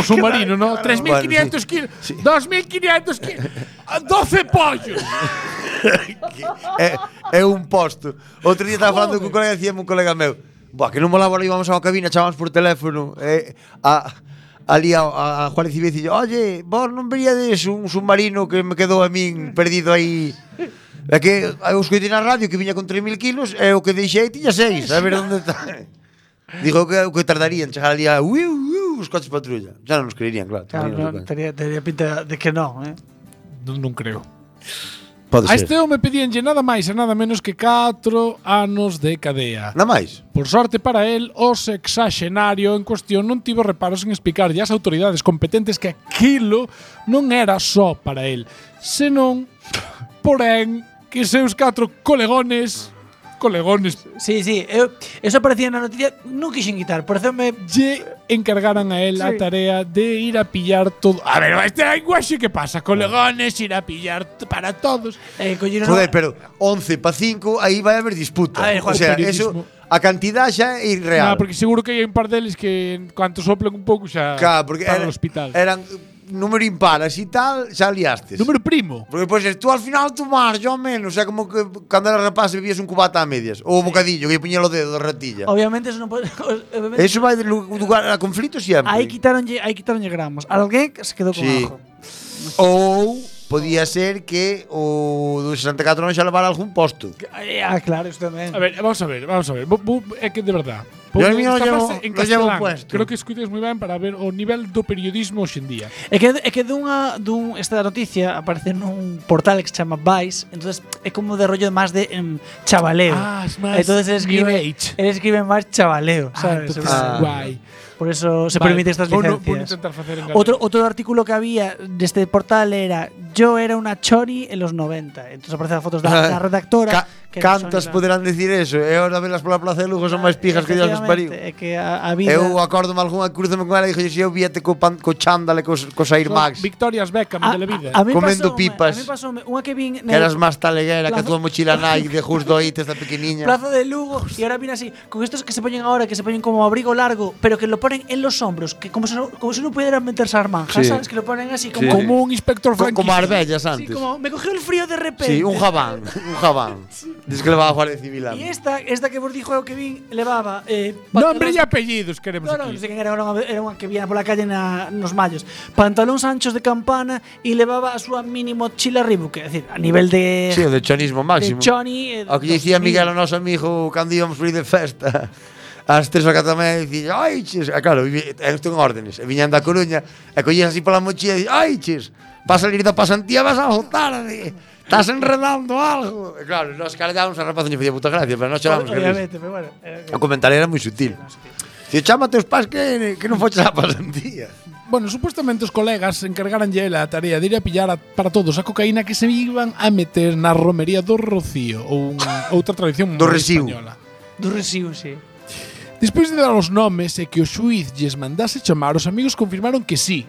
Speaker 7: submarino, ¿no? 3.500
Speaker 8: Bueno,
Speaker 7: kilos, 2.500 kilos, 12 pollos.
Speaker 8: é, é un posto. Outro día estaba falando con un colega e dicía un colega meu Buah, que non molaba ali, vamos a cabina, chamamos por teléfono eh, a, ali a, a, a Juárez Civil e dixo Oye, vos non veríades un submarino que me quedou a min perdido aí É que eu escoitei na radio que viña con 3.000 kilos e o que deixei tiña 6, a ver onde está. Digo que o que tardaría en chegar ali a uiu, uiu, os coches patrulla. Já non nos creerían, claro. tamén
Speaker 9: Claro,
Speaker 8: nos
Speaker 9: non,
Speaker 8: lo pensan.
Speaker 9: tería, tería pinta de que non, eh.
Speaker 7: No, creo.
Speaker 8: Pode
Speaker 7: A
Speaker 8: ser.
Speaker 7: este home pedíanlle nada máis e nada menos que 4 anos de cadea.
Speaker 8: Na máis.
Speaker 7: Por sorte para el, o sexaxenario en cuestión non tivo reparos en explicarlle ás autoridades competentes que aquilo non era só para el, senón, porén, que seus catro colegones, colegones,
Speaker 9: Sí, sí, eu, eso aparecía na noticia, non quixen quitar, pareceme
Speaker 7: lle encargaran a él la tarea de ir a pillar todo. A ver, este lenguaje, ¿qué pasa? Colegones, ir a pillar t- para todos.
Speaker 9: eh, coller
Speaker 8: Joder, pero 11 para 5, aí vai haber disputa.
Speaker 9: A ver, Juan,
Speaker 8: o sea,
Speaker 7: o periodismo.
Speaker 8: eso, a cantidad xa é irreal.
Speaker 7: Nah, Ah, porque seguro que hay un par deles que en cuanto soplen un pouco xa
Speaker 8: Claro, porque
Speaker 7: para
Speaker 8: era-
Speaker 7: o hospital.
Speaker 8: eran eh, número impar, así tal, xa liastes.
Speaker 7: Número primo.
Speaker 8: Porque pois pues, tú al final tomar, yo menos, o sea, como que cando era rapaz bebías un cubata a medias, ou un bocadillo que lle puñía o dedo da ratilla.
Speaker 9: Obviamente eso non pode, obviamente,
Speaker 8: Eso vai de lu- lugar a conflito sempre.
Speaker 9: aí quitaronlle, aí quitaronlle gramos. Alguén que se quedou con
Speaker 8: Sí.
Speaker 9: ajo.
Speaker 8: Ou podía ser que o do 64 non xa levara algún posto.
Speaker 9: Eh, Ah, claro, isto tamén.
Speaker 7: A ver, vamos a ver, vamos a ver. Bu- bu- É que de verdad.
Speaker 8: Yo
Speaker 7: porque
Speaker 8: el mío lo
Speaker 7: esta
Speaker 8: llevo-
Speaker 7: frase en
Speaker 8: lo llevo
Speaker 7: castelán,
Speaker 8: puesto.
Speaker 7: Creo que escuites moi ben para ver o nivel do periodismo hoxe en día.
Speaker 9: É que, é que dunha, dun, esta noticia aparece nun portal que se chama Vice, entonces é como de rollo máis de em, chavaleo.
Speaker 7: Ah, es máis
Speaker 9: entonces él
Speaker 7: New
Speaker 9: escribe,
Speaker 7: Age.
Speaker 9: él escribe máis chavaleo, sabes?
Speaker 7: entonces,
Speaker 8: Ah.
Speaker 7: guai.
Speaker 9: Por eso se
Speaker 7: Vale,
Speaker 9: permite estas
Speaker 7: vou no-
Speaker 9: licencias.
Speaker 7: vou intentar facer en galego.
Speaker 9: Otro, otro artículo que había de este portal era Yo era una chori en los 90. Entonces aparecen las fotos de la, la redactora.
Speaker 8: Ca-
Speaker 9: que no son
Speaker 8: cantas
Speaker 9: la-
Speaker 8: poderán decir eso? E ahora velas pola plaza de Lugo son máis pijas que Dios nos pariu.
Speaker 9: Efectivamente, é que a, a vida
Speaker 8: Eu acordo-me algunha cruzame con ela e dixo, eu víate co, pan, co chándale, co, co sair Max. Que
Speaker 7: Victorias Beckham
Speaker 9: a,
Speaker 7: de la vida.
Speaker 9: a- a mí
Speaker 8: comendo
Speaker 9: pasoume-
Speaker 8: pipas.
Speaker 9: A mí pasó una que vin na
Speaker 8: eras máis taleguera que a
Speaker 9: Plaza-
Speaker 8: túa mochila Nike de justo aí, esta pequeniña.
Speaker 9: Plaza de Lugo y ahora viene así con estos que se ponen ahora que se ponen como abrigo largo, pero que lo ponen en los hombros, que como si no, como si no pudieran meterse armanja,
Speaker 8: Sí.
Speaker 9: ¿sabes? Que lo ponen así como
Speaker 7: Como un inspector
Speaker 8: Co-
Speaker 7: franquista.
Speaker 8: como as vellas
Speaker 9: Sí,
Speaker 8: antes.
Speaker 9: como me cogió el frío de repente.
Speaker 8: Sí, un jabán, un jabán. Dis que levaba a Guardia Civil
Speaker 9: E
Speaker 8: antes.
Speaker 9: esta, esta que vos dixo é o que vin levaba eh,
Speaker 7: Nombre
Speaker 9: pantalóns-
Speaker 7: e apellidos queremos
Speaker 9: No, no, non
Speaker 7: aquí.
Speaker 9: sei quen era, era unha, era unha que viña pola calle na, nos mallos. Pantalóns anchos de campana e levaba a súa mini mochila Reebok, é dicir, a nivel de
Speaker 8: Sí, o de chonismo máximo.
Speaker 9: de Johnny. eh,
Speaker 8: O que dicía
Speaker 9: 2000.
Speaker 8: Miguel, o noso amigo, cando íbamos por ir de festa. Ás tres da catamé, dicía, ai, chis. E claro, vi- e isto en órdenes. E viñan da Coruña, e collías así pola mochila, e dicía, ai, chis, vas a salir da pasantía, vas a tarde. Estás enredando algo. E claro, nos cargábamos a rapaz, non lle facía puta gracia, pero nos choramos. que risa.
Speaker 9: Obviamente, pero bueno. eh,
Speaker 8: O
Speaker 9: era-
Speaker 8: comentario era moi sutil. Dicía, chámate os pais que, que non foches a pasantía.
Speaker 7: Bueno, supostamente os colegas encargaranlle a tarea de ir a pillar a, para todos a cocaína que se iban a meter na romería do Rocío ou un, outra tradición
Speaker 8: Do
Speaker 7: moi
Speaker 8: Resiu.
Speaker 7: española.
Speaker 9: Do residuo, sí.
Speaker 7: Despois de dar os nomes e que o xuiz lles mandase chamar, os amigos confirmaron que sí,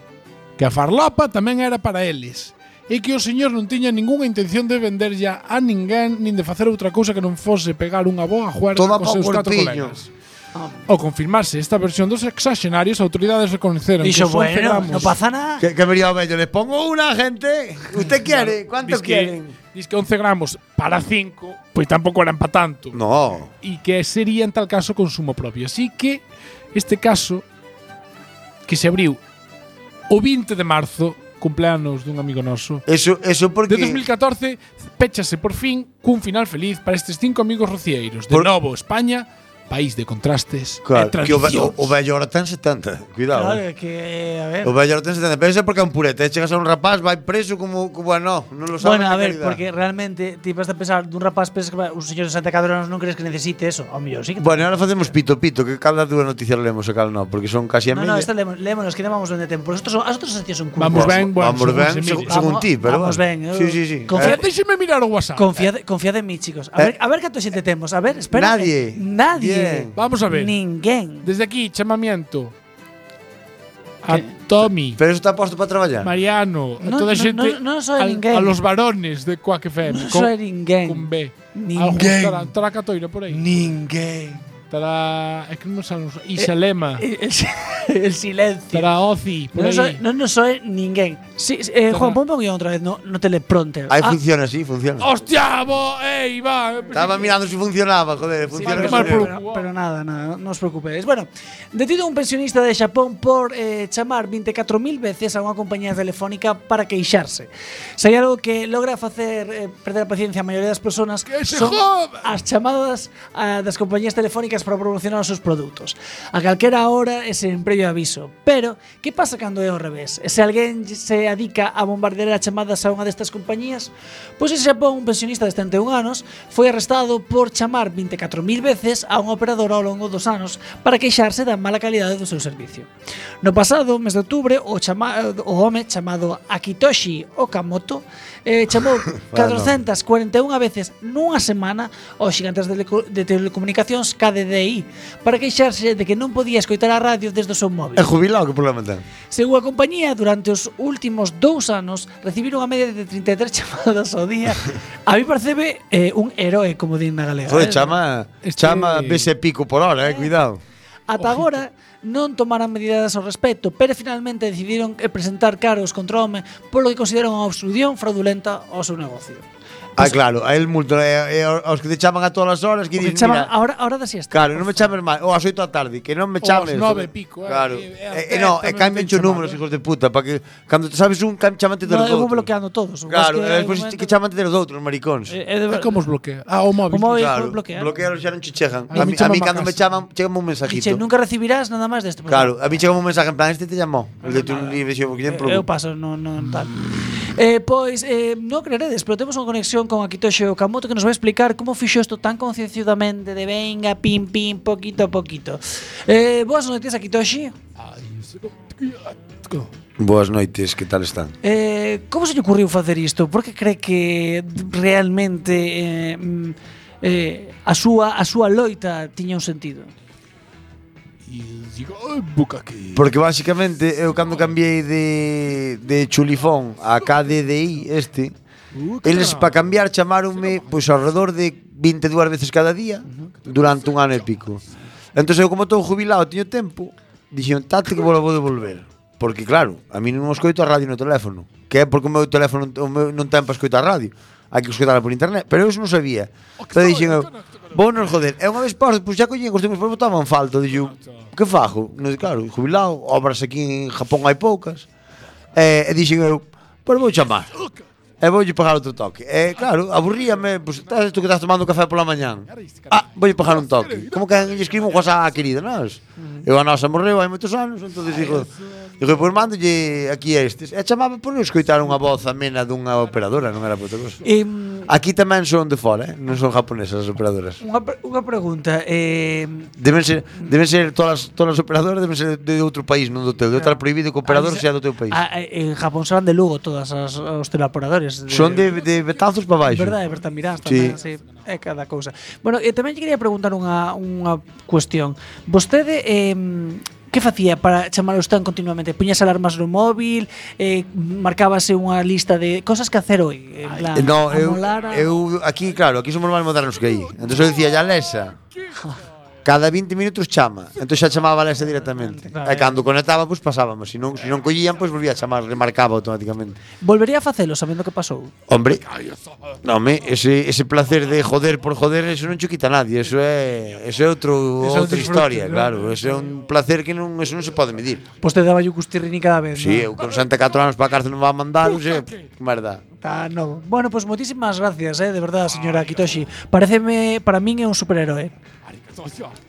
Speaker 7: que a farlopa tamén era para eles, e que o señor non tiña ningunha intención de venderlla a ninguén nin de facer outra cousa que non fose pegar unha boa juerga
Speaker 8: Toda
Speaker 7: cos
Speaker 8: pa
Speaker 7: seus catro
Speaker 8: cortiño.
Speaker 7: colegas. Ao confirmarse esta versión dos exaxenarios, autoridades recoñeceron que
Speaker 9: Dixo,
Speaker 7: son
Speaker 9: bueno,
Speaker 7: gramos.
Speaker 9: non pasa nada.
Speaker 8: Que, que vería o vello, les pongo una, gente. ¿Usted quiere? ¿Cuánto
Speaker 7: Diz que,
Speaker 8: quieren?
Speaker 7: diz que 11 gramos para 5, pois tampouco eran para tanto.
Speaker 8: No.
Speaker 7: Y que sería en tal caso consumo propio. Así que este caso que se abriu o 20 de marzo, cumpleanos dun amigo noso,
Speaker 8: Eso, eso porque...
Speaker 7: de 2014, péchase por fin cun final feliz para estes cinco amigos rocieiros. De
Speaker 8: Por-
Speaker 7: novo, España, país de contrastes
Speaker 8: Claro,
Speaker 7: e
Speaker 8: que o, ve-
Speaker 7: tradicións.
Speaker 8: o, o vello ahora ten 70. Cuidado.
Speaker 9: Claro,
Speaker 8: eh.
Speaker 9: é que, eh, a ver.
Speaker 8: O vello ahora ten 70. Pero eso é porque é un purete. eh. Chegas a un rapaz, vai preso como... como bueno, non lo sabe.
Speaker 9: Bueno,
Speaker 8: na
Speaker 9: a ver,
Speaker 8: calidad.
Speaker 9: porque realmente ti vas a pensar dun rapaz pensas que va- un señor de Santa Cadrona non crees que necesite eso. Ao mellor sí que
Speaker 8: Bueno, ahora facemos pito, pito, que cada dúa noticia lemos e cal non, porque son casi a
Speaker 9: No,
Speaker 8: media.
Speaker 9: no, esta leemos, leemos, nos quedamos donde tempo. Porque estos son, as outras noticias son
Speaker 7: Vamos
Speaker 9: curvas.
Speaker 7: ben, bueno,
Speaker 8: vamos
Speaker 7: según
Speaker 8: ben,
Speaker 7: se
Speaker 8: según,
Speaker 7: mire.
Speaker 8: según ti, pero
Speaker 9: vamos ben,
Speaker 8: bueno.
Speaker 9: eh.
Speaker 8: Sí, sí, sí. Eh,
Speaker 9: Confía-
Speaker 7: Déxeme mirar o WhatsApp.
Speaker 9: Confiad, confiad en mí, chicos. A
Speaker 8: Eh.
Speaker 9: ver, a ver canto xente temos. A ver, espera.
Speaker 8: Nadie.
Speaker 9: eh, Nadie.
Speaker 8: Bien.
Speaker 7: Vamos a ver.
Speaker 9: Ninguén.
Speaker 7: Desde aquí, chamamiento a Tommy,
Speaker 8: pero eso está posto para traballar.
Speaker 7: Mariano, a
Speaker 9: No,
Speaker 7: toda a
Speaker 9: no,
Speaker 7: xente,
Speaker 9: no, no soy
Speaker 7: al-
Speaker 9: ninguén.
Speaker 7: a los varones de Quack FM,
Speaker 9: Non
Speaker 7: con,
Speaker 9: soy ninguén.
Speaker 7: con B.
Speaker 9: Ninguén.
Speaker 7: Estará, estará Catoira por aí.
Speaker 9: Ninguén.
Speaker 7: Estará, é que non sabemos,
Speaker 9: Eh,
Speaker 7: Isalema,
Speaker 9: El, el si- el silencio.
Speaker 7: estará Ozi por
Speaker 9: No
Speaker 7: aí.
Speaker 9: soy, no, no soy ninguén. Sí, sí, eh, Juan,
Speaker 7: Estará-
Speaker 9: ponme un guión otra vez, no, no teleprompter.
Speaker 8: Aí
Speaker 9: Ah,
Speaker 8: funciona, sí, funciona.
Speaker 7: Hostia, bo, ei, va.
Speaker 8: Estaba mirando se funcionaba, joder,
Speaker 9: Sí,
Speaker 8: funciona.
Speaker 9: pero,
Speaker 7: Tienes
Speaker 8: como
Speaker 7: mal
Speaker 9: pero-
Speaker 8: debe.
Speaker 7: por-
Speaker 9: pero- pero nada, nada, no os preocupéis. Bueno, detido un pensionista de Xapón por eh, chamar 24.000 veces a unha compañía telefónica para queixarse. Se hai algo que logra facer eh, perder a paciencia a maioría das persoas
Speaker 7: Que se
Speaker 9: son
Speaker 7: joda!
Speaker 9: as chamadas ah, das compañías telefónicas para promocionar os seus produtos. A calquera hora e sen previo aviso. Pero, que pasa cando é ao revés? E se alguén lle- se adica a bombardear as chamadas a unha destas compañías? Pois en Xapón, un pensionista de 71 anos foi arrestado por chamar 24.000 veces a un operador ao longo dos anos para queixarse da mala calidade do seu servicio. No pasado mes de outubro, o, chama o home chamado Akitoshi Okamoto eh, chamou 441 veces nunha semana aos xigantes de, teleco- de telecomunicacións KDDI para queixarse de que non podía escoitar a radio desde o seu móvil.
Speaker 8: É jubilado, que problema ten?
Speaker 9: Según a compañía, durante os últimos dous anos recibiron a media de 33 chamadas ao día. A mí percebe eh, un heroe, como din na galega.
Speaker 8: Joder,
Speaker 9: eh.
Speaker 8: chama,
Speaker 7: Este-
Speaker 8: chama vese pico por hora, eh, cuidado.
Speaker 9: Ata agora non tomaran medidas ao respecto, pero finalmente decidiron eh, presentar cargos contra o home polo que consideran unha obstrución fraudulenta ao seu negocio.
Speaker 8: Ah, claro, a el multo é, é aos que te chaman a todas as horas que
Speaker 9: O que
Speaker 8: dicen, mira,
Speaker 9: chaman a hora, a hora da siesta.
Speaker 8: Claro, non me chames máis, ou ás 8 da tarde, que non me
Speaker 7: Ou
Speaker 8: chames.
Speaker 7: ás nove e pico, eh,
Speaker 8: Claro.
Speaker 7: eh,
Speaker 8: Eh, eh,
Speaker 7: eh,
Speaker 8: no,
Speaker 7: eh,
Speaker 8: e cambian os
Speaker 7: tamén
Speaker 8: números, hijos
Speaker 7: chamando.
Speaker 8: de puta, para que cando te sabes un, cam- chamante
Speaker 9: No,
Speaker 8: dos
Speaker 9: eu vou
Speaker 8: outros.
Speaker 9: bloqueando todos. o que
Speaker 8: Claro,
Speaker 9: pasa
Speaker 8: e
Speaker 9: é
Speaker 8: despois
Speaker 9: hai
Speaker 8: ti que
Speaker 9: momento-
Speaker 8: chamante dos outros, maricóns.
Speaker 9: Eh, eh, de
Speaker 7: Ah,
Speaker 9: ver-
Speaker 7: Como os bloquea? Ah, o móvil.
Speaker 9: O móvil.
Speaker 8: Claro,
Speaker 9: bloquear.
Speaker 8: bloquearon xa non che chegan. A
Speaker 7: Ai,
Speaker 8: mí, a mí
Speaker 7: me chaman
Speaker 8: cando
Speaker 7: a
Speaker 8: me
Speaker 7: casa.
Speaker 8: chaman, chegame un
Speaker 9: Dixe,
Speaker 8: mensajito.
Speaker 9: eh, nunca recibirás nada máis deste programa".
Speaker 8: Claro, a mí chega un mensaje en plan, este te llamou, el de tu libro, xe, porque
Speaker 9: Eh, Eu paso, non, non tal. Eh, pois, eh, non creeredes, pero temos unha conexión con Akitoshi Okamoto que nos vai explicar como fixo isto tan concienciadamente de venga, pim, pim, poquito a poquito. Eh, boas noites, Akitoshi.
Speaker 4: Boas noites, que tal están?
Speaker 9: Eh, como se lle ocurriu facer isto? Por que cree que realmente eh, mm, eh, a súa a súa loita tiña un sentido?
Speaker 7: E digo, "Ai, buca que.
Speaker 8: Porque basicamente eu cando cambiei de, de chulifón a KDDI este Eles para cambiar chamaronme pois alrededor de 22 veces cada día durante un ano e pico. Entón eu como estou jubilado, teño tempo, dixeron, "Tate que volo vou devolver." Porque claro, a mí non escoito a radio no teléfono, que é porque o meu teléfono o meu non ten para escoitar a radio. hai que escutala por internet, pero eu iso non sabía. Entón dixen eu, vou non joder, e unha vez paus, pois xa collín os teus pais botaban falta, dixo, que fajo? Non, claro, jubilado, obras aquí en Japón hai poucas. E, e dixen eu, pois vou chamar. E voulle pagar outro toque. E claro, aburríame, pois estás tú que estás tomando café pola mañán. Ah, voulle pagar un toque. Como que lle escribo un WhatsApp á querida, nós. Eu a nosa morreu hai moitos anos, entón dixo, dixo, pois mándolle aquí a estes. E chamaba por escoitar unha voz amena dunha operadora, non era por outra cosa.
Speaker 9: Em,
Speaker 8: Aquí tamén son de fora, eh? non son japonesas as operadoras.
Speaker 9: unha, pre- unha pregunta. Eh,
Speaker 8: Deben ser, deben ser todas, as- todas as operadoras deben ser de outro país, non do teu. Debe estar prohibido que o operador
Speaker 9: avisa-
Speaker 8: sea
Speaker 9: Ah,
Speaker 8: do teu país.
Speaker 9: a- a- en Japón serán de Lugo todas as os teleoperadores.
Speaker 8: Son de, de betazos para baixo.
Speaker 9: Verdade, Berta Mirás
Speaker 8: Sí.
Speaker 9: tamén, sí. é cada cousa. Bueno, e tamén lle quería preguntar unha unha cuestión. Vostede eh, que facía para chamar os tan continuamente? Puñas alarmas no móvil, eh, marcábase unha lista de cosas que hacer hoy, en plan,
Speaker 8: Eh, No, eu,
Speaker 9: Ah, amolar a-
Speaker 8: eu aquí, claro, aquí somos máis modernos que aí. Entón eu dicía, ya Lesa, cada 20 minutos chama. Entón xa chamaba a Lesa directamente. E
Speaker 9: Claro, eh.
Speaker 8: cando conectaba, pois pasábamos. Se non, se non collían, pois volvía a chamar, remarcaba automáticamente.
Speaker 9: Volvería a facelo sabendo que pasou.
Speaker 8: Hombre, no, me, ese, ese placer de joder por joder, eso non cho quita nadie, eso é, eso é outro,
Speaker 7: Eso é
Speaker 8: outra
Speaker 7: disfrute,
Speaker 8: historia,
Speaker 7: ¿no?
Speaker 8: claro, eso é un placer que non, eso non se pode medir.
Speaker 9: Vostede daba yo custirrini cada vez,
Speaker 8: Si, eu
Speaker 9: non?
Speaker 8: con 64 anos para a cárcel non va a mandar, non sei, que merda.
Speaker 9: Tá, no. Bueno, pois pues, moitísimas gracias, eh, de verdade, señora Kitoshi. Pareceme, para min é un superheroe.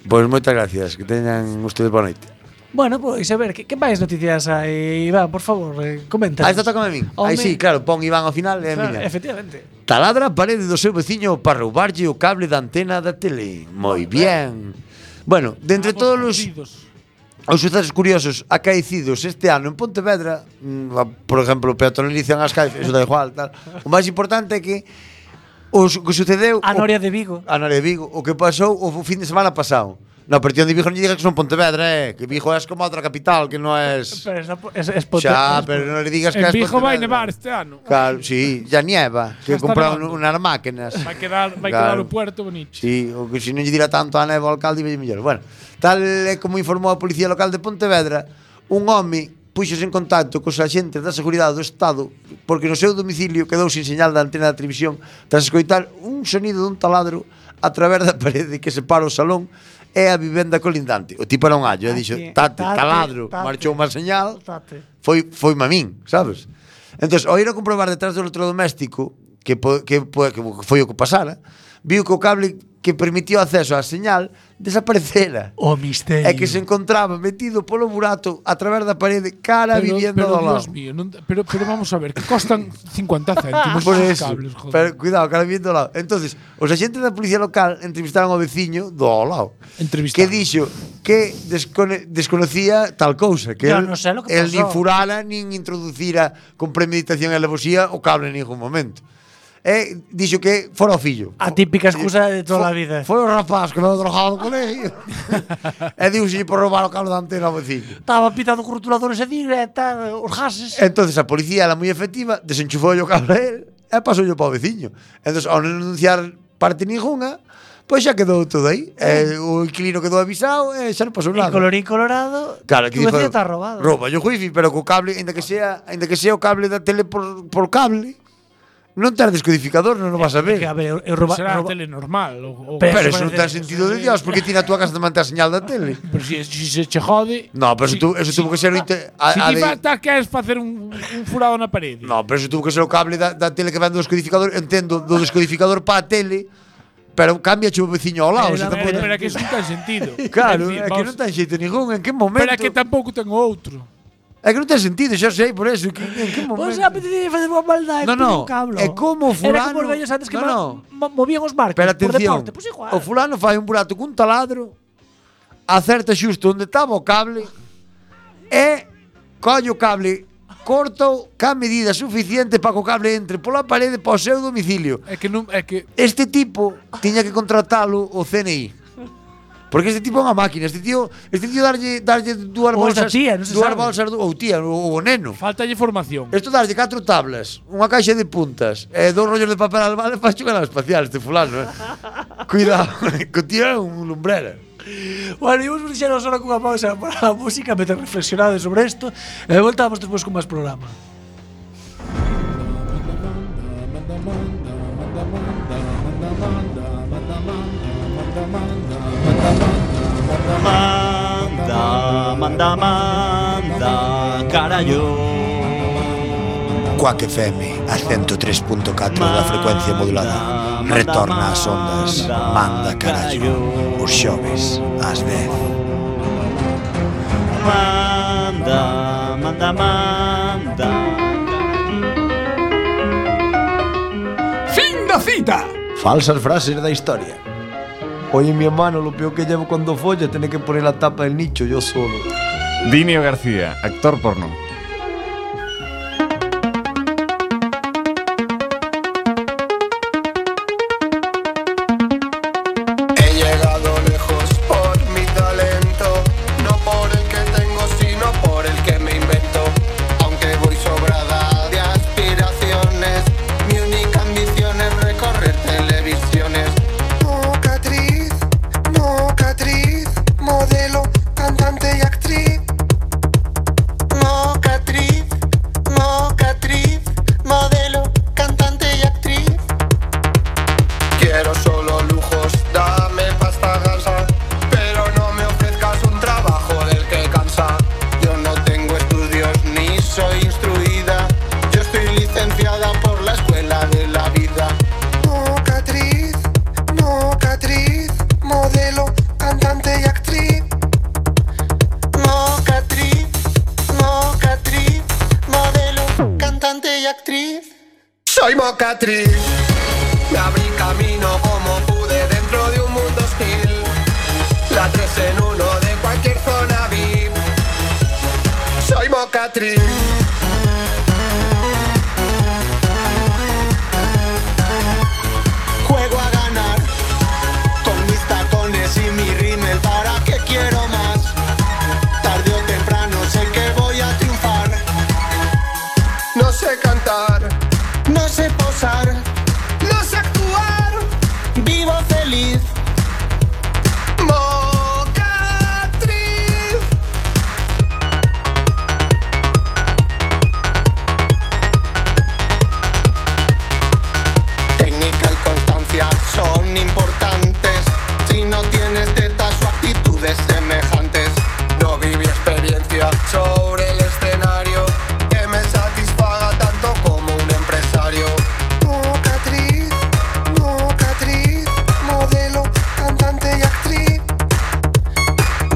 Speaker 8: Pois moitas gracias, que teñan ustedes boa noite.
Speaker 9: Bueno, pois a ver, que, que máis noticias hai, Iván, por favor, eh, comenta.
Speaker 8: Aí está toca Ah, a min. Aí
Speaker 9: Home.
Speaker 8: sí, claro, pon Iván ao final e a
Speaker 9: Claro,
Speaker 8: miña.
Speaker 9: efectivamente.
Speaker 8: Taladra a parede do seu veciño para roubarlle o cable da antena da tele. Moi bien. Bueno, de entre todos os Os sucesos curiosos acaecidos este ano en Pontevedra, mm, a- por exemplo, peatonalizan as calles, eso da igual, tal. O máis importante é que os o que sucedeu
Speaker 9: A Noria Ah, de Vigo.
Speaker 8: o, a Noria de Vigo, o que pasou o fin de semana pasado. Na partión de Vigo non lle digas que son Pontevedra, eh, que Vigo é como outra capital, que non é
Speaker 9: Pero es, es, es
Speaker 8: Xa, pero non le digas que é
Speaker 7: En Vigo
Speaker 8: Pontevedra.
Speaker 7: vai nevar este ano.
Speaker 8: Claro, sí, ya nieva, que
Speaker 7: está
Speaker 8: compraron
Speaker 7: nevando.
Speaker 8: unas máquinas.
Speaker 7: Vai quedar, vai
Speaker 8: Claro.
Speaker 7: quedar o puerto bonito.
Speaker 8: Sí, o que se non lle dira tanto a neve ao alcalde e mellor. Bueno, tal é como informou a Policía Local de Pontevedra, un home puxose en contacto cos axentes da Seguridade do Estado porque no seu domicilio quedou sin señal da antena da televisión tras escoitar un sonido dun taladro a través da parede que separa o salón e a vivenda colindante. O tipo era un allo, e dixo, tate,
Speaker 9: Tate, tate,
Speaker 8: taladro,
Speaker 9: tate.
Speaker 8: marchou má señal,
Speaker 9: Tate.
Speaker 8: foi foi mamín, sabes? Entón, ao ir a comprobar detrás do electrodoméstico que po, que, po, que foi o que pasara, viu que o cable que permitiu acceso á señal desaparecera.
Speaker 9: O Oh, misterio.
Speaker 8: É que se encontraba metido polo burato a través da parede cara a vivienda do lado.
Speaker 7: Dios mío, non- pero, pero vamos a ver, que costan 50 céntimos
Speaker 8: Por
Speaker 7: os
Speaker 8: eso.
Speaker 7: cables, joder.
Speaker 8: Pero cuidado, cara a vivienda do lado. Entonces, os axentes da policía local entrevistaron ao veciño do ao lado.
Speaker 7: Entrevistado.
Speaker 8: Que dixo que descone desconocía tal cousa, que
Speaker 9: Yo
Speaker 8: el,
Speaker 9: non sei lo que
Speaker 8: el nin
Speaker 9: pasó.
Speaker 8: furara nin introducira con premeditación e alevosía o cable en ningún momento. E dixo que fora o fillo.
Speaker 9: A típica excusa de toda a vida.
Speaker 8: Foi o rapaz que me drogado co colegio. e diuxelle por roubar o cable da antena ao veciño.
Speaker 9: Estaba pitando curtuladores e directa, os gases.
Speaker 8: Entonces a policía era moi efectiva, desenchufou o cable a él e pasou para o veciño. Entonces, ao non denunciar parte ninguna, pois xa quedou todo aí. E, o inquilino quedou avisado e xa non pasou
Speaker 9: Y
Speaker 8: nada.
Speaker 9: colorín colorado.
Speaker 8: Claro,
Speaker 9: tu vecino está robado.
Speaker 8: Rouba o wifi, pero co cable, ainda que sea, ainda que sea o cable da tele por, por cable, non ter descodificador, non o vas a ver.
Speaker 9: Eh, Que, a ver, eu, eu roba,
Speaker 7: será a
Speaker 9: roba,
Speaker 7: tele normal. O, o-
Speaker 9: Pero
Speaker 8: Pero eso
Speaker 9: eso
Speaker 8: non ten
Speaker 9: parece-
Speaker 8: sentido de Dios, porque ti na túa casa te mantén a señal da tele.
Speaker 7: pero si, si se che jode...
Speaker 8: No, pero eso,
Speaker 7: si-
Speaker 8: tu, eso tuvo
Speaker 9: Ah,
Speaker 8: que ser o inte- a,
Speaker 7: Si
Speaker 8: a
Speaker 7: ti
Speaker 8: de-
Speaker 7: vas a queres facer un, un furado na parede.
Speaker 8: No, pero eso tuvo que ser o cable da, da tele que ven do descodificador, entendo, do descodificador para a tele, pero cambia o veciño ao lado, se
Speaker 7: Pero, pero,
Speaker 8: tampouco.
Speaker 7: que iso non ten sentido.
Speaker 8: Claro,
Speaker 7: decir,
Speaker 8: é que
Speaker 7: vamos-
Speaker 8: non ten xeito ningún, en que momento?
Speaker 7: Pero é que tampouco ten outro.
Speaker 8: É que non ten sentido, xa sei, por eso, que, en que momento?
Speaker 9: Pois Pues, a pedir facer unha maldade,
Speaker 8: No, no,
Speaker 9: un cablo.
Speaker 8: é como
Speaker 9: Era como
Speaker 8: fulano-
Speaker 9: os vellos antes que
Speaker 8: no,
Speaker 9: ma-
Speaker 8: no.
Speaker 9: mo- movían os barcos
Speaker 8: Pero
Speaker 9: por
Speaker 8: atención,
Speaker 9: deporte, pois igual.
Speaker 8: o fulano fai un burato cun taladro, acerta xusto onde estaba o cable e colle o cable corto ca medida suficiente para que o cable entre pola parede para o seu domicilio.
Speaker 7: É que non é que
Speaker 8: Este tipo tiña que contratalo o CNI. Porque este tipo é unha máquina, este tío, este tío darlle darlle dúas
Speaker 9: Ou
Speaker 8: bolsas,
Speaker 9: esta tía, non se
Speaker 8: dúas
Speaker 9: sabe.
Speaker 8: bolsas do- ou tía, ou o neno.
Speaker 7: faltalle formación.
Speaker 8: Esto darlle catro tablas, unha caixa de puntas e dous rollos de papel e al vale para xogar ao espacial este fulano, eh. Cuidado, que o tío é un lumbrera.
Speaker 9: Bueno, imos deixaros agora cunha pausa para a música, meter reflexionades sobre isto e voltamos despois con máis programa.
Speaker 7: Mandamanda, mandamanda.
Speaker 10: manda, manda, carallo.
Speaker 4: Quack FM, a 103.4 da frecuencia modulada. Retorna ás ondas, manda carallo, os xoves, ás 10.
Speaker 10: Manda, manda, manda.
Speaker 1: ¡Fin da cita!
Speaker 4: Falsas frases da historia. Oye, mi hermano, lo peor que llevo cuando folla tener que poner la tapa del nicho yo solo.
Speaker 3: Dinio García, actor porno.
Speaker 11: He llegado lejos por mi talento, no por el que tengo, sino por el que me invento. Aunque voy sobrada de aspiraciones, mi única ambición es recorrer televisiones. Boca actriz, boca actriz, modelo, cantante y actriz. Boca actriz, boca actriz, modelo, cantante y actriz. Quiero solo lujos, dame pasta gansa, pero no me ofrezcas un trabajo del que cansa. Yo no tengo estudios ni soy instruida, yo estoy licenciada por la escuela de la vida. Mocatriz, mocatriz, modelo, cantante y actriz. Mocatriz, mocatriz, modelo, cantante y actriz. Soy mocatriz. Me abrí camino como pude dentro de un mundo hostil. La tres en uno de cualquier zona VIP. Soy Mocatriz. Juego a ganar con mis tacones y mi rímel. ¿Para qué quiero más? Tarde o temprano sé que voy a triunfar. No sé cantar, no sé posar. No sé actuar, vivo feliz. Mocatriz. Técnica y constancia son importantes. Si no tienes tetas o actitudes semejantes, no viví experiencia sobre el escenario que me satisfaga tanto como un empresario. Mocatriz, mocatriz, modelo, cantante y actriz.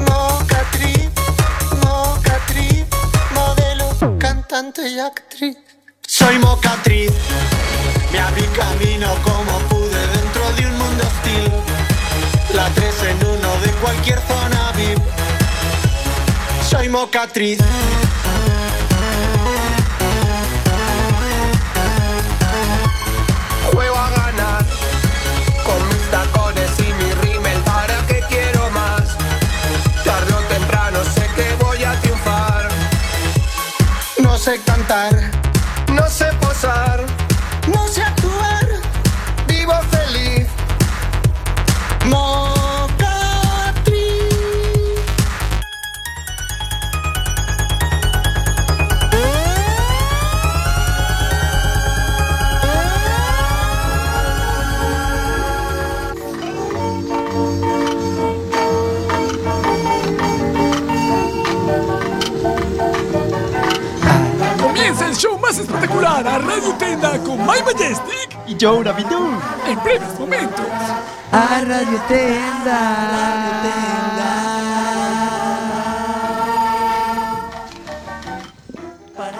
Speaker 11: Mocatriz, mocatriz, modelo, cantante y actriz. Soy mocatriz, me abrí camino como pude dentro de un mundo hostil. La tres en uno de cualquier zona VIP. Soy mocatriz. Juego a ganar con mis tacones y mi rímel. ¿Para qué quiero más? Tarde o temprano sé que voy a triunfar. No sé cantar, no sé posar, no sé actuar. Vivo feliz. Mocatriz.
Speaker 1: Comienza el show más espectacular a Radio Tenda con My Majestic
Speaker 10: Y yo una bidú.
Speaker 1: en breves momentos.
Speaker 5: A Radio Tenda.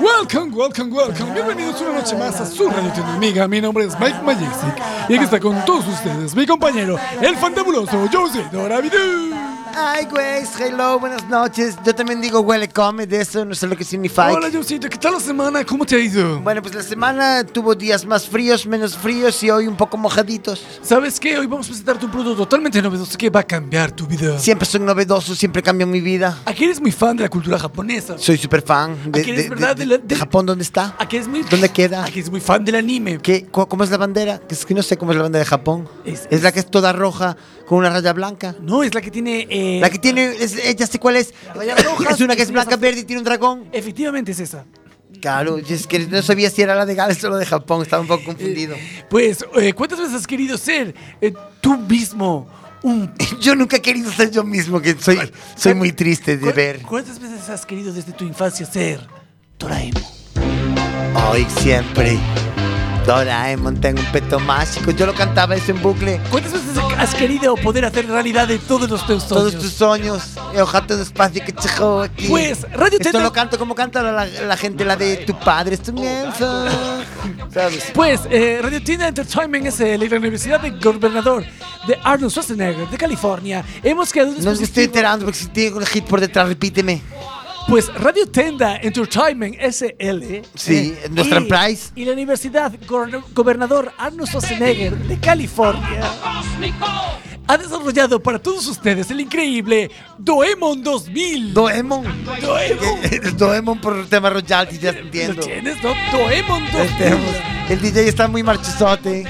Speaker 1: Welcome, welcome, welcome. Bienvenidos una noche más a su Radio Tenda Amiga. Mi nombre es Mike Majestic y aquí está con todos ustedes mi compañero, el fantabuloso José Doravidú.
Speaker 8: Ay, güey, hello, buenas noches. Yo también digo welcome, de eso no sé lo que significa.
Speaker 1: Hola Josito, ¿qué tal la semana? ¿Cómo te ha ido?
Speaker 8: Bueno, pues la semana tuvo días más fríos, menos fríos y hoy un poco mojaditos.
Speaker 1: ¿Sabes qué? Hoy vamos a presentarte un producto totalmente novedoso que va a cambiar tu vida.
Speaker 8: Siempre son novedosos, siempre cambian mi vida.
Speaker 1: Aquí eres muy fan de la cultura japonesa.
Speaker 8: Soy súper fan de,
Speaker 1: Aquí eres
Speaker 8: de-
Speaker 1: verdad
Speaker 8: de-
Speaker 1: de la-
Speaker 8: de
Speaker 1: de-
Speaker 8: Japón. ¿Dónde está?
Speaker 1: Aquí eres muy
Speaker 8: ¿Dónde queda?
Speaker 1: Aquí eres muy fan del anime.
Speaker 8: ¿Qué? ¿Cu- ¿Cómo es la bandera? Que Es que no sé cómo es la bandera de Japón.
Speaker 1: Es-
Speaker 8: Es, la que es toda roja con una raya blanca.
Speaker 1: No, es la que tiene. eh,
Speaker 8: La que tiene, es, eh, ya sé cuál es.
Speaker 1: raya roja,
Speaker 8: es una que es
Speaker 1: sí,
Speaker 8: blanca,
Speaker 1: sí.
Speaker 8: verde y tiene un dragón.
Speaker 1: Efectivamente es esa.
Speaker 8: Claro, y es que no sabía si era la de Gales o la de
Speaker 1: Eh,
Speaker 8: Japón, estaba un poco confundido.
Speaker 1: Pues, eh, ¿cuántas veces has querido ser eh, tú mismo?
Speaker 9: un...
Speaker 8: Yo nunca he querido ser yo mismo, que soy, soy muy triste de ver.
Speaker 9: ¿Cuántas veces has querido desde tu infancia ser Doraemon?
Speaker 8: Hoy siempre. Doraemon tengo un peto mágico. Yo lo cantaba eso en bucle.
Speaker 9: ¿Cuántas veces has querido poder hacer realidad de todos los teus sueños?
Speaker 8: Todos tus sueños. Y Ojalá todo espacio que te juego aquí.
Speaker 9: Pues, Radio
Speaker 8: Esto
Speaker 9: Tendo-
Speaker 8: lo canto como canta la, la gente, la de tu padre. Es tu mensa. ¿Sabes?
Speaker 9: Pues eh, Radio Tienda Entertainment SL y la Universidad de Gobernador de Arnold Schwarzenegger de California hemos creado un
Speaker 8: No me estoy
Speaker 9: dispositivo-
Speaker 8: enterando porque si tengo un hit por detrás, repíteme.
Speaker 9: Pues Radio Tenda Entertainment SL.
Speaker 8: Sí, nuestra
Speaker 9: y-
Speaker 8: empresa.
Speaker 9: Y la Universidad Gor- Gobernador Arnold Schwarzenegger de California ha desarrollado para todos ustedes el increíble Doemon 2000.
Speaker 8: Doemon. Eh,
Speaker 9: Doemon.
Speaker 8: Doemon por el tema Royalty, ya te
Speaker 9: ¿Lo
Speaker 8: entiendo. Este, pues,
Speaker 9: tienes, no? Doemon 2000.
Speaker 8: Tenemos- El DJ está muy marchizote.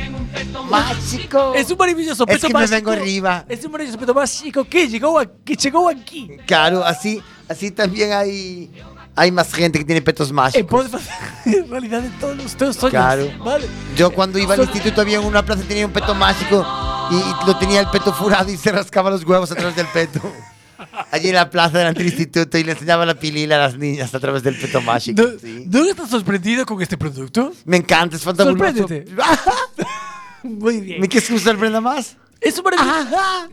Speaker 8: Mágico.
Speaker 9: Es un maravilloso
Speaker 8: Es
Speaker 9: peto
Speaker 8: que me
Speaker 9: más
Speaker 8: vengo
Speaker 9: chico-
Speaker 8: arriba.
Speaker 9: Es un maravilloso peto más chico que llegó, a- que llegó aquí.
Speaker 8: Claro, así, así también hay, hay más gente que tiene petos
Speaker 9: Eh,
Speaker 8: mágicos.
Speaker 9: puedes hacer en realidad de todos los teus sueños.
Speaker 8: Claro.
Speaker 9: Vale.
Speaker 8: Yo cuando iba al
Speaker 9: Son-
Speaker 8: instituto había en una plaza que tenía un peto mágico y, y lo tenía el peto furado y se rascaba los huevos a través del peto. Allí en la plaza delante del instituto y le enseñaba la pilila a las niñas a través del peto mágico.
Speaker 1: ¿No,
Speaker 8: sí.
Speaker 1: ¿no estás sorprendido con este producto?
Speaker 8: Me encanta, es fantabuloso.
Speaker 9: Sorpréndete. Muy bien.
Speaker 8: ¿Me quieres que me sorprenda más?
Speaker 9: Es un maravilloso.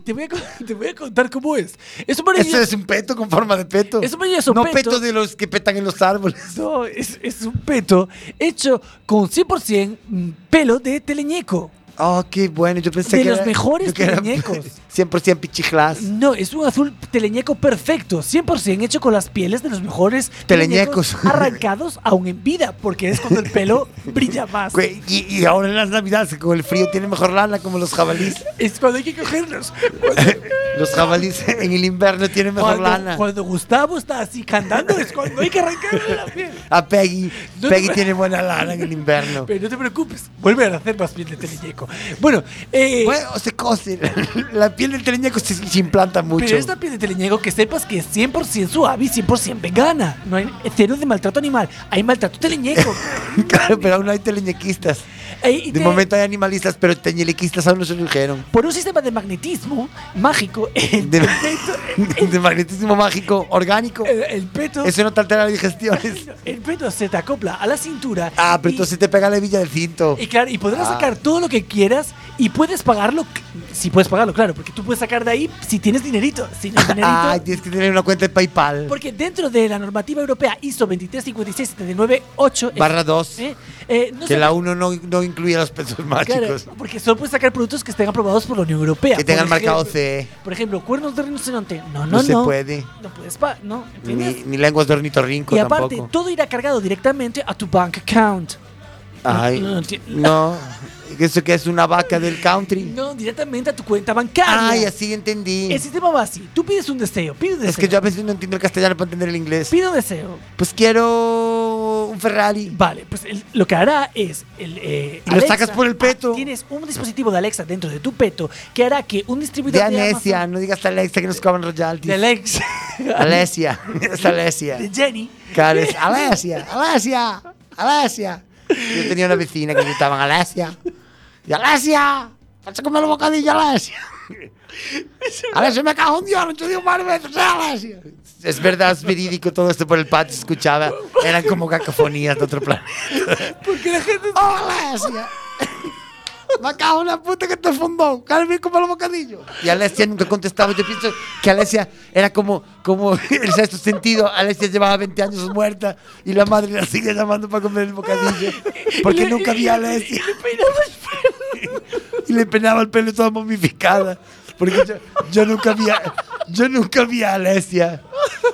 Speaker 9: Te voy, a, co- te voy a contar cómo es. Es un
Speaker 8: Eso
Speaker 9: maravilloso.
Speaker 8: es un peto con forma de peto.
Speaker 9: Es un maravilloso
Speaker 8: no
Speaker 9: peto.
Speaker 8: peto de los que petan en los árboles.
Speaker 9: No, es, es un peto hecho con 100% pelo de teleñeco.
Speaker 8: Oh, qué bueno. Yo pensé
Speaker 9: De
Speaker 8: que
Speaker 9: los
Speaker 8: era-
Speaker 9: mejores
Speaker 8: yo que era
Speaker 9: muñecos.
Speaker 8: 100% pichijlas.
Speaker 9: No, es un azul teleñeco perfecto, 100% hecho con las pieles de los mejores
Speaker 8: Teleñecos.
Speaker 9: teleñecos arrancados aún en vida, porque es cuando el pelo brilla más.
Speaker 8: Güey, Y, y ahora en las navidades, que con el frío tiene mejor lana como los jabalíes.
Speaker 9: Es cuando hay que cogerlos.
Speaker 8: Los jabalíes en el invierno tienen mejor
Speaker 9: Cuando,
Speaker 8: lana.
Speaker 9: cuando Gustavo está así cantando es cuando hay que arrancarle la piel.
Speaker 8: A Peggy.
Speaker 9: No
Speaker 8: Peggy
Speaker 9: te-
Speaker 8: tiene buena lana en el invierno.
Speaker 9: Pero no te preocupes, vuelve a hacer más piel de teleñeco. Bueno, eh,
Speaker 8: Bueno, se cose. La piel del teleñeco se, se implanta mucho.
Speaker 9: pero esta piel de teleñeco que sepas que es 100% suave y 100% vegana. No hay cero de maltrato animal, hay maltrato teleñeco.
Speaker 8: Claro, pero aún no hay teleñequistas.
Speaker 9: Eh, y
Speaker 8: De
Speaker 9: te-
Speaker 8: momento hay animalistas, pero teleñequistas aún no se surgieron.
Speaker 9: Por un sistema de magnetismo mágico, el
Speaker 8: De,
Speaker 9: peto,
Speaker 8: de magnetismo mágico orgánico.
Speaker 9: el, el peto,
Speaker 8: Eso no te altera las digestiones.
Speaker 9: el peto se te acopla a la cintura.
Speaker 8: Ah, pero
Speaker 9: y-
Speaker 8: entonces te pega la hebilla del cinto.
Speaker 9: Y claro, y podrás
Speaker 8: Ah.
Speaker 9: sacar todo lo que quieras y puedes pagarlo, c- si puedes pagarlo, claro, porque tú puedes sacar de ahí si tienes dinerito, si no tienes dinerito.
Speaker 8: Ay, tienes que tener una cuenta de PayPal.
Speaker 9: porque dentro de la normativa europea ISO 2356798
Speaker 8: Barra 2.
Speaker 9: eh, eh, no
Speaker 8: Que
Speaker 9: se-
Speaker 8: la 1 no, no incluye los pesos
Speaker 9: claro,
Speaker 8: mágicos.
Speaker 9: ¿eh? porque solo puedes sacar productos que estén aprobados por la Unión Europea.
Speaker 8: Que tengan
Speaker 9: Por
Speaker 8: marcado
Speaker 9: ejemplo-
Speaker 8: C.
Speaker 9: Por ejemplo, cuernos de rinoceronte. No,
Speaker 8: No,
Speaker 9: no, no.
Speaker 8: se puede.
Speaker 9: No puedes pa- no, ¿entiendes?
Speaker 8: Ni, ni lenguas de ornitorrinco
Speaker 9: Y aparte,
Speaker 8: tampoco.
Speaker 9: todo irá cargado directamente a tu bank account.
Speaker 8: Ay,
Speaker 9: no, no enti-
Speaker 8: no. ¿Eso que es una vaca del country?
Speaker 9: No, directamente a tu cuenta bancaria.
Speaker 8: Ay, así entendí.
Speaker 9: El
Speaker 8: Es,
Speaker 9: sistema va así. Tú pides un deseo, pides un deseo.
Speaker 8: que yo a veces no entiendo el castellano para entender el inglés.
Speaker 9: Pido un deseo.
Speaker 8: Pues quiero un Ferrari.
Speaker 9: Vale, pues el- lo que hará es. El, eh, ah,
Speaker 8: Y lo sacas por el peto.
Speaker 9: Tienes un dispositivo de Alexa dentro de tu peto que hará que un
Speaker 8: De
Speaker 9: distribuidor. de
Speaker 8: Alesia,
Speaker 9: Amazon-
Speaker 8: no digas Alexa que nos cobran royalties.
Speaker 9: De Alexa.
Speaker 8: Alesia, es Alesia.
Speaker 9: de Jenny.
Speaker 8: Claro, es Alesia, Alesia, Alesia. Yo tenía una vecina que gritaban Alesia. Y Alesia, vas a comer el bocadillo, Alesia. Alesia, me cago en Dios, no te digo más veces, Alesia. Es verdad, es verídico todo esto por el patio, se escuchaba. Eran como cacofonías de otro planeta.
Speaker 9: Porque la gente.
Speaker 8: ¡Oh, Alesia! Me cago en la puta que te fundó. Calvin como el bocadillo. Y Alesia nunca contestaba. Yo pienso que Alesia era como, como el sexto sentido. Alesia llevaba 20 años muerta y la madre la sigue llamando para comer el bocadillo. Porque nunca vi a Alesia. Y le peinaba el pelo toda momificada. Porque yo, yo nunca vi a, yo nunca vi a Alesia.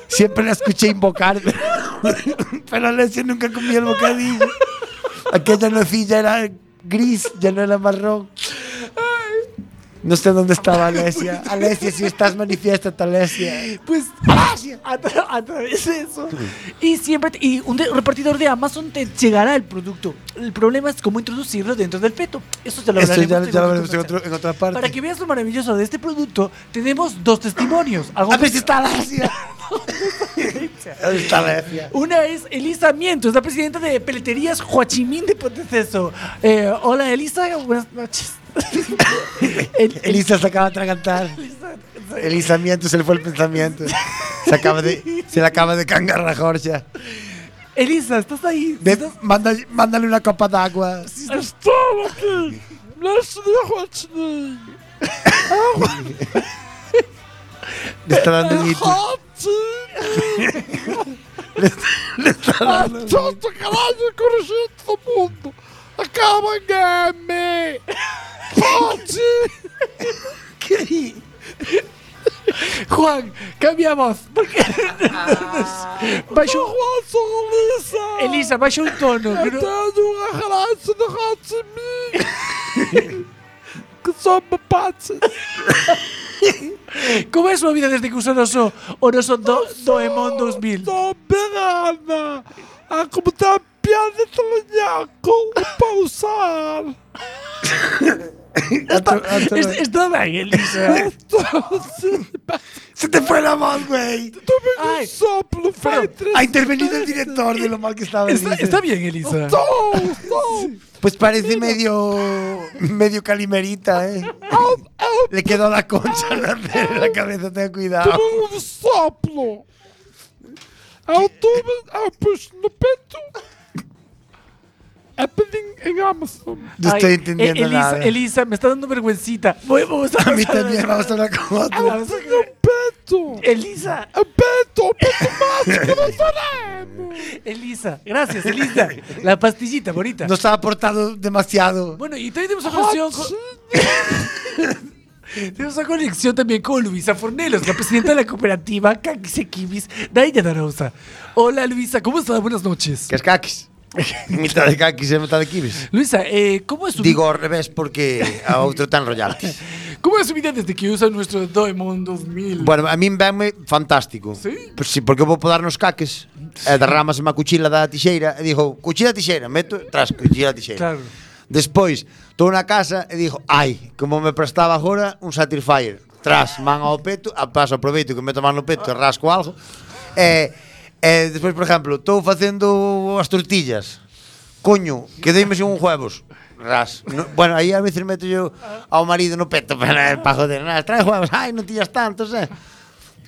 Speaker 8: Siempre la escuché invocar. Pero Alesia nunca comía el bocadillo. Aquella nocilla era gris, ya no era marrón. No sé dónde estaba Alesia. Alesia, si estás, manifiéstate, Alesia.
Speaker 9: Pues a, tra- a través de eso. Y siempre te- y un, de- un repartidor de Amazon te llegará el producto. El problema es cómo introducirlo dentro del feto. Eso ya lo
Speaker 8: Esto
Speaker 9: hablaremos,
Speaker 8: ya,
Speaker 9: en
Speaker 8: ya lo
Speaker 9: otro
Speaker 8: veremos en,
Speaker 9: podcast.
Speaker 8: otro- en otra parte.
Speaker 9: Para que veas lo maravilloso de este producto, tenemos dos testimonios. Algo
Speaker 8: ¡Ah, pues está la Asia! ¿Dónde está la
Speaker 9: Una es Elisa Miento, es la presidenta de Peleterías Joachimín de Ponteceso. Eh, hola Elisa, buenas noches.
Speaker 8: Elisa se acaba de atragantar. Elisa miento, se le fue el pensamiento. Se, acaba de, se le acaba de cangar la Jorge.
Speaker 9: Elisa, ¿estás ahí?
Speaker 8: De- manda- mándale una copa de agua.
Speaker 7: Estaba aquí. Las de Joachim.
Speaker 8: Le está dando un hito.
Speaker 7: Joachim.
Speaker 8: Le está- le está dando un hito.
Speaker 7: Tanto caralho que eu gente do mundo. Acaba game. Joachim.
Speaker 9: Juan, cambia voz. Porque baixa um... Elisa, baixa um tono. que
Speaker 7: Eu
Speaker 9: não-
Speaker 7: tenho uma relação de Joachim. Que só me pate.
Speaker 9: Como é a súa vida desde que usou o noso, o noso do, Doemon 2000?
Speaker 7: Estou pegada
Speaker 9: Ah,
Speaker 7: a comentar piada de tronhaco para usar.
Speaker 9: Está, está ben, Elisa.
Speaker 8: Se te fue la voz, güey.
Speaker 9: Ai,
Speaker 7: Soplo feito.
Speaker 8: Ha intervenido el director de lo mal que estaba.
Speaker 9: está,
Speaker 8: Elisa.
Speaker 9: está bien, Elisa.
Speaker 7: Estou, estou.
Speaker 8: Pues parece medio. medio calimerita, ¿eh? Le quedó la concha en la, en la cabeza, ten cuidado.
Speaker 7: Tubo de soplo. É o tubo.
Speaker 9: ah,
Speaker 7: Eu
Speaker 9: pues,
Speaker 7: pus no peito. É pedido em Amazon.
Speaker 8: No estoy
Speaker 9: Ay,
Speaker 8: entendiendo
Speaker 9: eh, Elisa,
Speaker 8: nada.
Speaker 9: Elisa, me está dando vergüencita. Voy- vamos a
Speaker 8: A mí también vamos a hablar como
Speaker 7: É
Speaker 8: otro.
Speaker 7: pedido em peito.
Speaker 8: Eh.
Speaker 9: Elisa,
Speaker 7: É peito. Peito mágico do Zaremo.
Speaker 9: Elisa, gracias, Elisa. La pastillita bonita.
Speaker 8: Nos ha aportado demasiado.
Speaker 9: Bueno, y también tenemos una conexión con... Tenemos una conexión también con Luisa Fornelos, la presidenta de la cooperativa Caquisequimis Daina Darosa. Hola Luisa, ¿cómo estás? Buenas noches.
Speaker 8: Que es caquis. mitad de caquis y mitad de kibis.
Speaker 9: Luisa, eh, ¿cómo, es su
Speaker 8: Digo al revés porque a otro tan royalties.
Speaker 9: vida- ¿cómo es su vida desde que usa nuestro Doemon 2000?
Speaker 8: Bueno, a min venme fantástico.
Speaker 9: Sí?
Speaker 8: Pois si, porque eu vou podar nos caques. E derramase má cuchila da tixeira e dixo, cuchila tixeira, meto tras cuchila tixeira.
Speaker 9: Claro.
Speaker 8: Despois, estou na casa e dixo, ai, como me prestaba agora un Satisfyer. Tras, man ao peto, a paso aproveito que meto man no peto e rasco algo. E, e despois, por exemplo, estou facendo as tortillas. Coño, quedeime sin un huevos. Ras. No, bueno, aí a veces meto yo ao marido no peto para, para joder. Nas, trae huevos, ai, non tillas tantos, eh.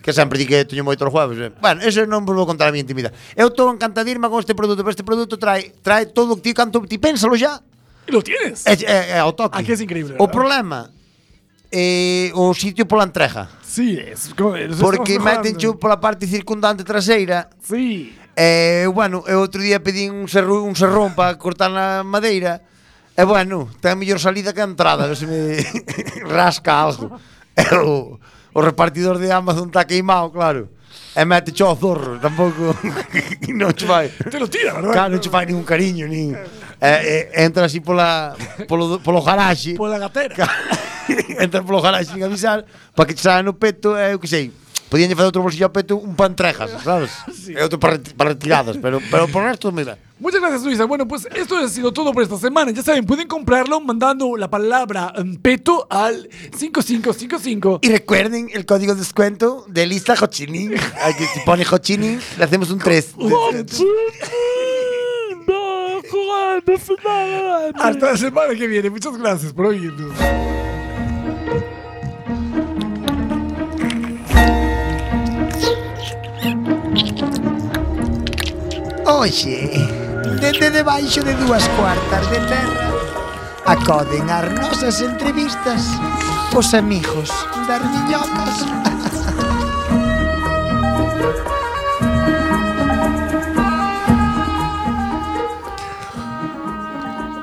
Speaker 8: Que sempre di que teño moitos jueves eh. Bueno, eso non vos vou contar a miña intimidade Eu estou encantadirma con este produto Pero este produto trae, trae todo o que ti canto Ti pénsalo xa
Speaker 9: ¿Lo tienes?
Speaker 8: É, é, é ao toque
Speaker 9: Aquí es increíble,
Speaker 8: O
Speaker 9: ¿verdad?
Speaker 8: problema É o sitio pola entreja
Speaker 9: Sí, es. como- nos
Speaker 8: Porque
Speaker 9: estamos
Speaker 8: meten chu
Speaker 9: mejorando.
Speaker 8: pola parte circundante traseira
Speaker 9: Sí.
Speaker 8: E, bueno, eu outro día pedín un, serru, un serrón para cortar na madeira E, bueno, ten mellor salida que a entrada a ver Se me rasca algo E o, o repartidor de Amazon está queimado, claro E mete cho ao zorro, tampouco Non che vai
Speaker 9: Te lo tira, ¿verdad?
Speaker 8: Claro, non che fai ningún cariño nin, e, e, Entra así pola, polo, polo garaxe
Speaker 9: Por la gatera.
Speaker 8: Entra polo garaxe sin avisar Para que te saia no peto E, eu que sei Podían facer outro bolsillo ao peto Un pan trejas, sabes? E outro para, reti- para retiradas Pero, pero por resto, mira
Speaker 9: Muchas gracias, Luisa. Bueno, pues esto ha sido todo por esta semana. Ya saben, pueden comprarlo mandando la palabra mm, peto al 5555.
Speaker 8: Y recuerden el código de descuento de Lisa Hochinin. Al que si pone Hochinin, le hacemos un 3.
Speaker 9: ¡Oh, Hasta
Speaker 1: Hasta la semana que viene. Muchas gracias por oírnos.
Speaker 8: Oye, desde debaixo de dúas cuartas de terra acoden as nosas entrevistas os amigos das miñocas.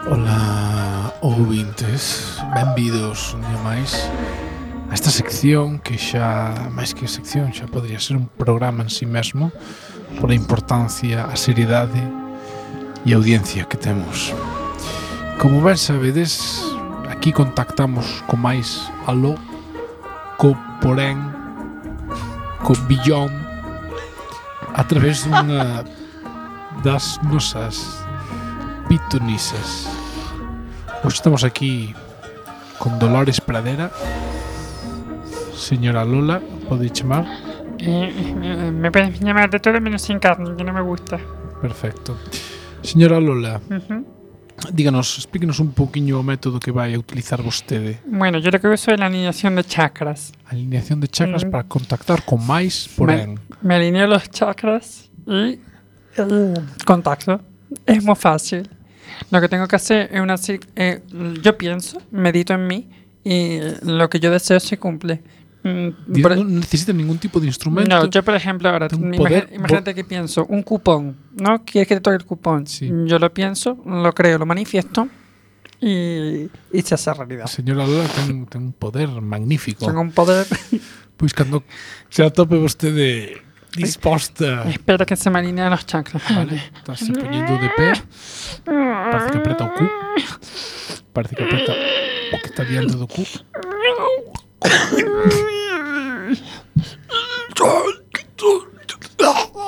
Speaker 7: Ola, ouvintes, benvidos un día máis a esta sección que xa, máis que sección, xa podría ser un programa en si sí mesmo pola importancia, a seriedade e a audiencia que temos. Como ben sabedes, aquí contactamos co máis aló, co porén, co billón, a través dunha das nosas pitunisas. Hoy Pois estamos aquí con Dolores Pradera, señora Lola, podéis llamar.
Speaker 12: Eh, me pueden llamar de todo menos sin carne, que no me gusta.
Speaker 7: Perfecto. Señora Lola,
Speaker 12: Ujú.
Speaker 7: díganos, explíquenos un poquinho o método que vai a utilizar vostede.
Speaker 12: Bueno, yo lo que uso es la alineación de chakras.
Speaker 7: Alineación de chakras
Speaker 12: Mm.
Speaker 7: para contactar con máis, porén.
Speaker 12: Me alineo los chakras y eh, contacto. Es muy fácil. Lo que tengo que hacer es una... si- eh, yo pienso, medito en mí y lo que yo deseo se cumple. Mm,
Speaker 7: Dirá,
Speaker 12: por-
Speaker 7: non necesita ningún tipo de instrumento.
Speaker 12: No, yo por ejemplo ahora,
Speaker 7: Ten un
Speaker 12: imagi-
Speaker 7: poder
Speaker 12: imagínate que pienso, un cupón, ¿no? Quieres que te toque el cupón. Yo lo pienso, lo creo, lo manifiesto
Speaker 13: Mm,
Speaker 12: y, y se hace realidad.
Speaker 7: Señora Lola ten, ten un poder magnífico.
Speaker 12: Tengo un poder,
Speaker 7: Pois cando se atope vostede disposta
Speaker 12: espero que se me alineen los chakras.
Speaker 7: Vale, estás poñendo de pé. Parece que aprieta o cu. Parece que aprieta o que está diante do cu.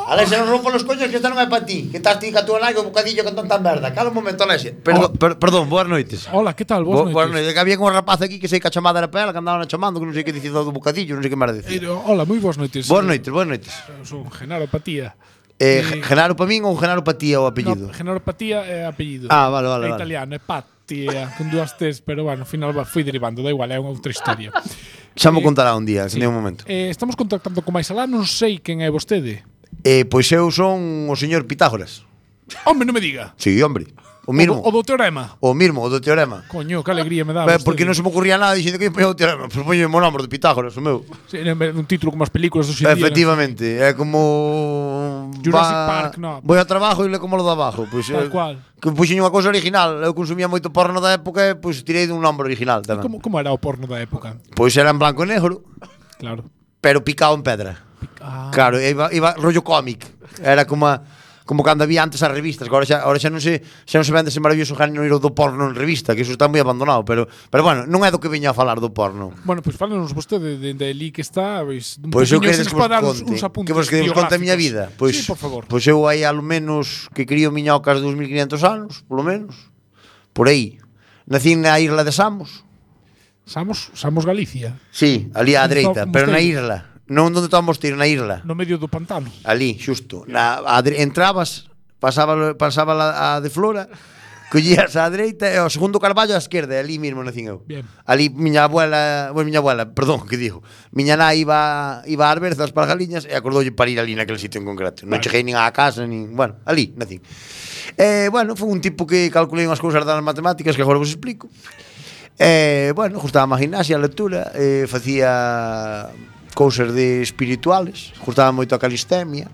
Speaker 8: Alexa, non rompo los coños que esta non é para ti. Que estás ti que tú algo bocadillo con tanta merda. Cala un momento, Alexa. Perdón, per, perdón, boas noites.
Speaker 7: Hola, que tal? Boas
Speaker 8: Bo,
Speaker 7: noites.
Speaker 8: boas noites. Que había un rapaz aquí que sei que a chamada era para ela, que andaban a chamando, que non sei que dicía do bocadillo, non sei que merda dicía.
Speaker 7: Eh, Hola, moi boas noites.
Speaker 8: Boas noites, boas noites.
Speaker 7: Son Genaro Patía.
Speaker 8: Eh,
Speaker 7: Eh,
Speaker 8: Genaro para min ou Genaro para ti é o apellido?
Speaker 7: No, Genaro Patía é apellido.
Speaker 8: Ah, vale, vale,
Speaker 7: É
Speaker 8: vale.
Speaker 7: italiano, é Patía, con dúas T's, pero bueno, ao final va- fui derivando, da igual, é unha outra historia.
Speaker 8: Xa mo
Speaker 7: Eh,
Speaker 8: contará un día,
Speaker 7: sí.
Speaker 8: en un momento.
Speaker 7: Eh, estamos contactando con máis alá, non sei quen é vostede.
Speaker 8: Eh, pois eu son o señor Pitágoras.
Speaker 7: Home, non me diga.
Speaker 8: Sí, hombre. O mismo.
Speaker 7: O, do- o do teorema.
Speaker 8: O mismo, o do teorema.
Speaker 7: Coño, que alegría me dá.
Speaker 8: Ah,
Speaker 7: vostede.
Speaker 8: porque non se me ocurría nada dicindo que poño o teorema, pois poño o nome de Pitágoras, o meu.
Speaker 7: Sí, era un título como as películas
Speaker 8: Eh,
Speaker 7: do Xindía.
Speaker 8: Efectivamente, é como
Speaker 7: Jurassic Park, no.
Speaker 8: Voy ao trabajo e le como lo de abajo, pois
Speaker 7: Tal
Speaker 8: eh,
Speaker 7: cual.
Speaker 8: Que puxen unha cousa original, eu consumía moito porno da época e pois tirei dun nome original tamén.
Speaker 7: Como, como era o porno da época?
Speaker 8: Pois era en blanco e negro,
Speaker 7: Claro.
Speaker 8: pero picado en pedra.
Speaker 7: Ah.
Speaker 8: Claro, iba, iba rollo cómic. Era como a, como cando había antes as revistas, que agora xa, agora xa non se xa non se vende ese maravilloso género do porno en revista, que iso está moi abandonado, pero pero bueno, non é do que veña a falar do porno.
Speaker 7: Bueno, pois fálenos vostede de, de ali que está, pois un
Speaker 8: Pois eu
Speaker 7: poquinho,
Speaker 8: queredes que
Speaker 7: se nos
Speaker 8: vos
Speaker 7: pode dar uns,
Speaker 8: conte,
Speaker 7: uns apuntes
Speaker 8: que vos queredes conte a miña vida.
Speaker 7: biográficos.
Speaker 8: Pois,
Speaker 7: sí, por favor.
Speaker 8: Pois eu hai al menos que crío miñocas 2500 anos, polo menos. Por aí. Nací na isla de Samos.
Speaker 7: Samos, Samos Galicia,
Speaker 8: Sí, ali á
Speaker 7: Un
Speaker 8: dereita,
Speaker 7: mo-
Speaker 8: pero na
Speaker 7: mosteiro.
Speaker 8: isla. Non onde está o mosteiro, na isla.
Speaker 7: no medio do pantano.
Speaker 8: Ali, xusto. Na, a, dre- entrabas, pasaba, pasaba a, a de flora, collías á dereita e o segundo carballo á esquerda, e ali mesmo nacín eu.
Speaker 7: Bien.
Speaker 8: Ali miña abuela, bueno, miña abuela, perdón, que digo. Miña nai iba iba ás berzas para galiñas e acordoulle para ir ali naquele sitio en concreto. Non
Speaker 7: Vale.
Speaker 8: cheguei nin á casa, nin, bueno, ali, nacín. Eh, bueno, foi un tipo que calculei unhas cousas das matemáticas que agora vos explico. Eh, bueno, gustaba a gimnasia, a lectura, eh, facía cousas de espirituales, gustaba moito a calistemia.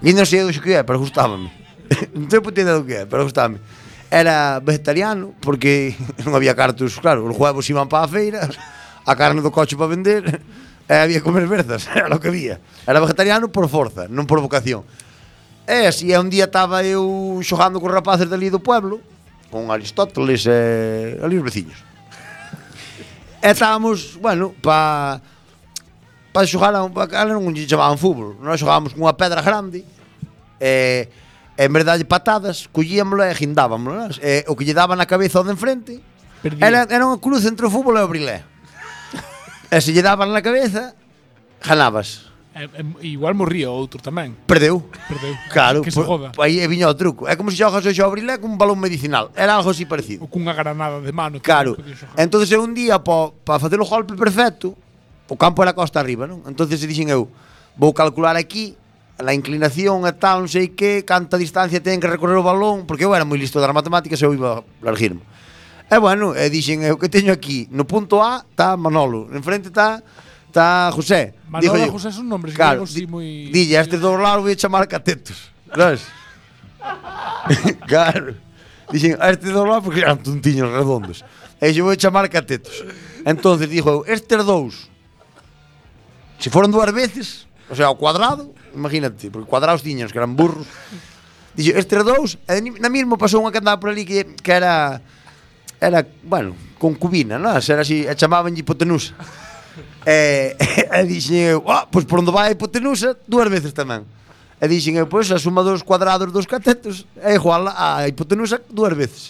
Speaker 8: E non sei o que é, pero gustábame. non teño puta idea do que é, pero gustábame. Era vegetariano, porque non había cartos, claro, os huevos iban para a feira, a carne do coche para vender, e había que comer berzas, era lo que había. Era vegetariano por forza, non por vocación. E así, e un día estaba eu xogando con rapaces dali do pueblo, con Aristóteles e ali os veciños. E estábamos, bueno, pa pa xogar a un pa cala non lle chamaban fútbol, nós xogábamos cunha pedra grande e en verdade patadas, collíamosla e guindábamosla, e o que lle daban na cabeza ao de enfrente
Speaker 7: Perdí.
Speaker 8: era, era unha cruz entre o fútbol e o brilé. e se lle daban na cabeza, ganabas.
Speaker 7: Eh, eh, igual morría outro tamén.
Speaker 8: Perdeu.
Speaker 7: Perdeu.
Speaker 8: Claro, pois,
Speaker 7: que se joda.
Speaker 8: aí é viña o truco. É como se xogas hoxe ao brilé cun balón medicinal. Era algo así parecido.
Speaker 7: Ou cunha granada de mano.
Speaker 8: Claro. Entonces eu un día para pa facer o golpe perfecto, o campo era costa arriba, non? Entonces dixen eu, vou calcular aquí a inclinación e tal, non sei que, canta distancia ten que recorrer o balón, porque eu era moi listo das matemáticas e eu iba a larguirme. E bueno, e dixen eu que teño aquí, no punto A está Manolo, en frente está está José.
Speaker 7: Manolo
Speaker 8: Digo
Speaker 7: e
Speaker 8: eu,
Speaker 7: José son nombres
Speaker 8: claro,
Speaker 7: gregos
Speaker 8: di-
Speaker 7: di, moi...
Speaker 8: Dille, a estes dos lados voy a chamar catetos. Sabes? claro. Dixen, a estes dos lados porque eran tuntiños redondos. E yo voy a chamar catetos. Entonces dijo, eu, estes dous, se foron dúas veces, o sea, ao cuadrado, imagínate, porque cuadrados tiños que eran burros. Dixo, estes dous, e ni- na mismo pasou unha que andaba por ali que, que era era, bueno, concubina, non? Era así, e chamaban hipotenusa. E, e dixen eu, ah, pois por onde vai a hipotenusa, dúas veces tamén. E dixen, eh, pois, a suma dos cuadrados dos catetos é igual á hipotenusa dúas veces.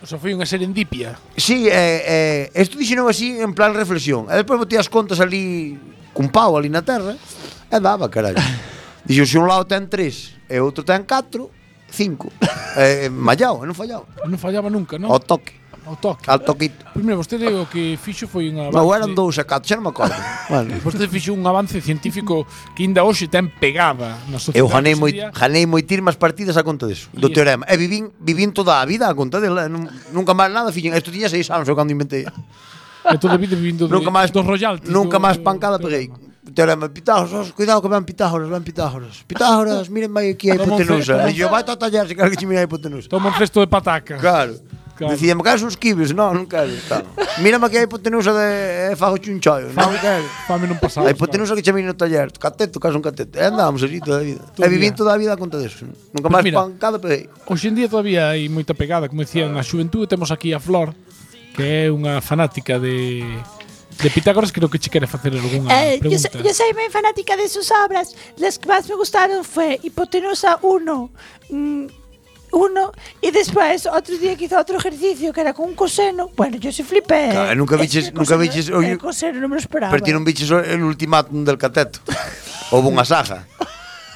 Speaker 7: O sea, foi unha serendipia.
Speaker 8: Sí, eh, eh, esto dixeron así en plan reflexión. E despois botei as contas ali cun pau ali na terra e daba, carallo. Dixo, se un lado ten tres e outro ten catro, cinco. eh, mallao, e non fallao.
Speaker 7: Non fallaba nunca, non?
Speaker 8: Ao toque,
Speaker 7: Ao toque.
Speaker 8: al toquito.
Speaker 7: Primeiro, vostede o que fixo foi unha...
Speaker 8: Non, eran dous a catro, xa non me acordo. bueno.
Speaker 7: Vostede fixo un avance científico que ainda hoxe ten pegada na sociedade.
Speaker 8: Eu janei, moi,
Speaker 7: hoxe día.
Speaker 8: janei moitirmas partidas a conta disso, do
Speaker 7: E-
Speaker 8: teorema. E vivín, vivín toda a vida a conta dela. nun- Nunca máis nada fixen. Isto tiña seis anos eu cando inventei.
Speaker 7: E toda a vida vivindo de,
Speaker 8: nunca máis,
Speaker 7: dos royalties.
Speaker 8: Nunca
Speaker 7: do-
Speaker 8: máis pancada peguei. Teorema, Pitágoras, cuidado que van Pitágoras, van Pitágoras. Pitágoras, miren aí aquí a
Speaker 7: Toma un ce-
Speaker 8: hipotenusa.
Speaker 7: toma
Speaker 8: E
Speaker 7: un
Speaker 8: yo, vai a tallar se quero que che mira a hipotenusa.
Speaker 7: Toma un cesto de pataca.
Speaker 8: Claro.
Speaker 7: Claro.
Speaker 8: Dicía, me queres uns kiwis? Non, non quero. Tal. Mírame aquí a hipotenusa de e fago chunchoio. Non quero.
Speaker 7: Fame non pasaba.
Speaker 8: A hipotenusa que che mira no taller. Cateto, caso un cateto. E andábamos así toda a vida.
Speaker 7: Todo
Speaker 8: E vivín
Speaker 7: día.
Speaker 8: toda a vida a conta disso. Nunca
Speaker 7: Pois
Speaker 8: máis
Speaker 7: mira.
Speaker 8: pancada peguei.
Speaker 7: Hoxe en día todavía hai moita pegada, como dicían, a xuventude temos aquí a Flor, que é unha fanática de de Pitágoras, creo que che quere facer algunha
Speaker 13: Eh, yo,
Speaker 7: pregunta.
Speaker 13: so- yo soy muy fanática de sus obras. Las que más me gustaron fue Hipotenusa 1. mm, 1. Y después, otro día que hizo otro ejercicio que era con un coseno. Bueno, yo sí flipé.
Speaker 8: Claro, Ah, nunca
Speaker 13: Es
Speaker 8: viches-
Speaker 13: que el
Speaker 8: nunca
Speaker 13: coseno-
Speaker 8: viches- oye,
Speaker 13: El coseno no me lo
Speaker 11: Ah,
Speaker 13: esperaba.
Speaker 8: Pero ti non biches o- el ultimátum del cateto. Houve unha saga.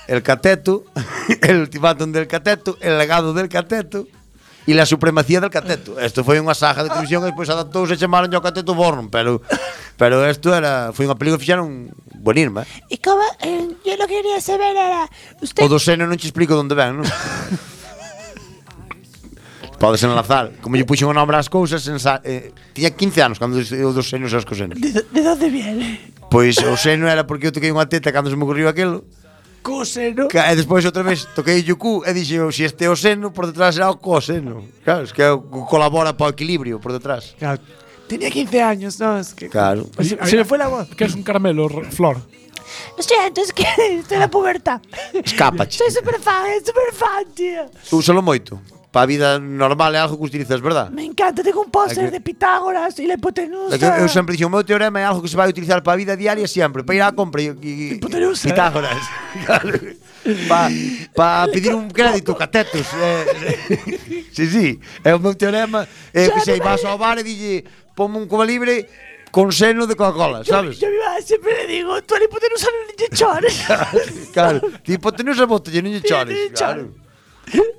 Speaker 8: El cateto, el ultimátum del cateto, el legado del cateto e la supremacía del cateto. Isto foi unha saga de televisión que despois adaptouse e chamaron ao cateto Born, pero pero isto era foi unha película que fixeron buenísima.
Speaker 13: Y
Speaker 8: Eh?
Speaker 13: como eh, yo lo que quería saber era. Usted.
Speaker 8: O do seno non che explico onde ven, non? Podes enlazar. Como lle puxen o nombre ás cousas, ensa, eh, tiña 15 anos cando eu dos senos e as cosenas.
Speaker 13: ¿De, de dónde viene?
Speaker 8: Pois o seno era porque eu toquei unha teta cando se me ocurriu aquilo.
Speaker 13: Coseno.
Speaker 8: Ca- E despois outra vez toquei o cu e dixen, si este é o seno, por detrás será o coseno. Claro, es que é o que colabora para o equilibrio por detrás.
Speaker 9: Claro. Tenía 15 años, ¿no? Es que.
Speaker 8: Claro.
Speaker 9: Se, se me fue la voz.
Speaker 7: Que es un caramelo, R- Flor.
Speaker 13: O sea, Pues entonces que estoy en la pubertad.
Speaker 8: Escápache.
Speaker 13: Soy súper fan, súper fan, tío.
Speaker 8: Úsalo moito. Pa a vida normal é algo que utilizas, verdad?
Speaker 13: Me encanta, tengo un póster
Speaker 8: Hay que-
Speaker 13: de Pitágoras y la
Speaker 8: É que
Speaker 13: hipotenusa.
Speaker 8: Eu sempre dixo, o meu teorema é algo que se vai utilizar para a vida diaria sempre, para ir á compra e, e, e
Speaker 13: Hipotenusa.
Speaker 8: Pitágoras. Claro. pa, pa pedir un crédito catetos. Eh, sí, sí, é o meu teorema, é que sei, vas ao bar e dille, ponme un cuba libre con seno de Coca-Cola,
Speaker 13: Yo,
Speaker 8: sabes?
Speaker 13: yo a mi madre siempre le digo, tú a la hipotenusa no le chores.
Speaker 8: claro, ti hipotenusa botalle non lle chores,
Speaker 13: Ti non lle
Speaker 8: claro.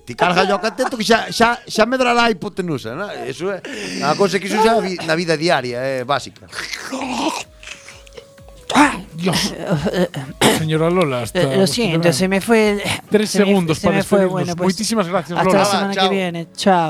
Speaker 8: Ti carga o cateto que xa, xa, xa medrará a hipotenusa, non? Eso é unha cousa que se usa vi- na vida diaria, é básica.
Speaker 7: Dios. Señora Lola, hasta
Speaker 13: Eh, lo siento, se me fue el.
Speaker 7: Tres
Speaker 13: se me-
Speaker 7: segundos
Speaker 13: se
Speaker 7: para
Speaker 13: me fue,
Speaker 7: despedirnos.
Speaker 13: bueno, pues,
Speaker 7: Moitísimas gracias,
Speaker 13: Hasta
Speaker 7: Lola.
Speaker 13: la semana que viene. Chao.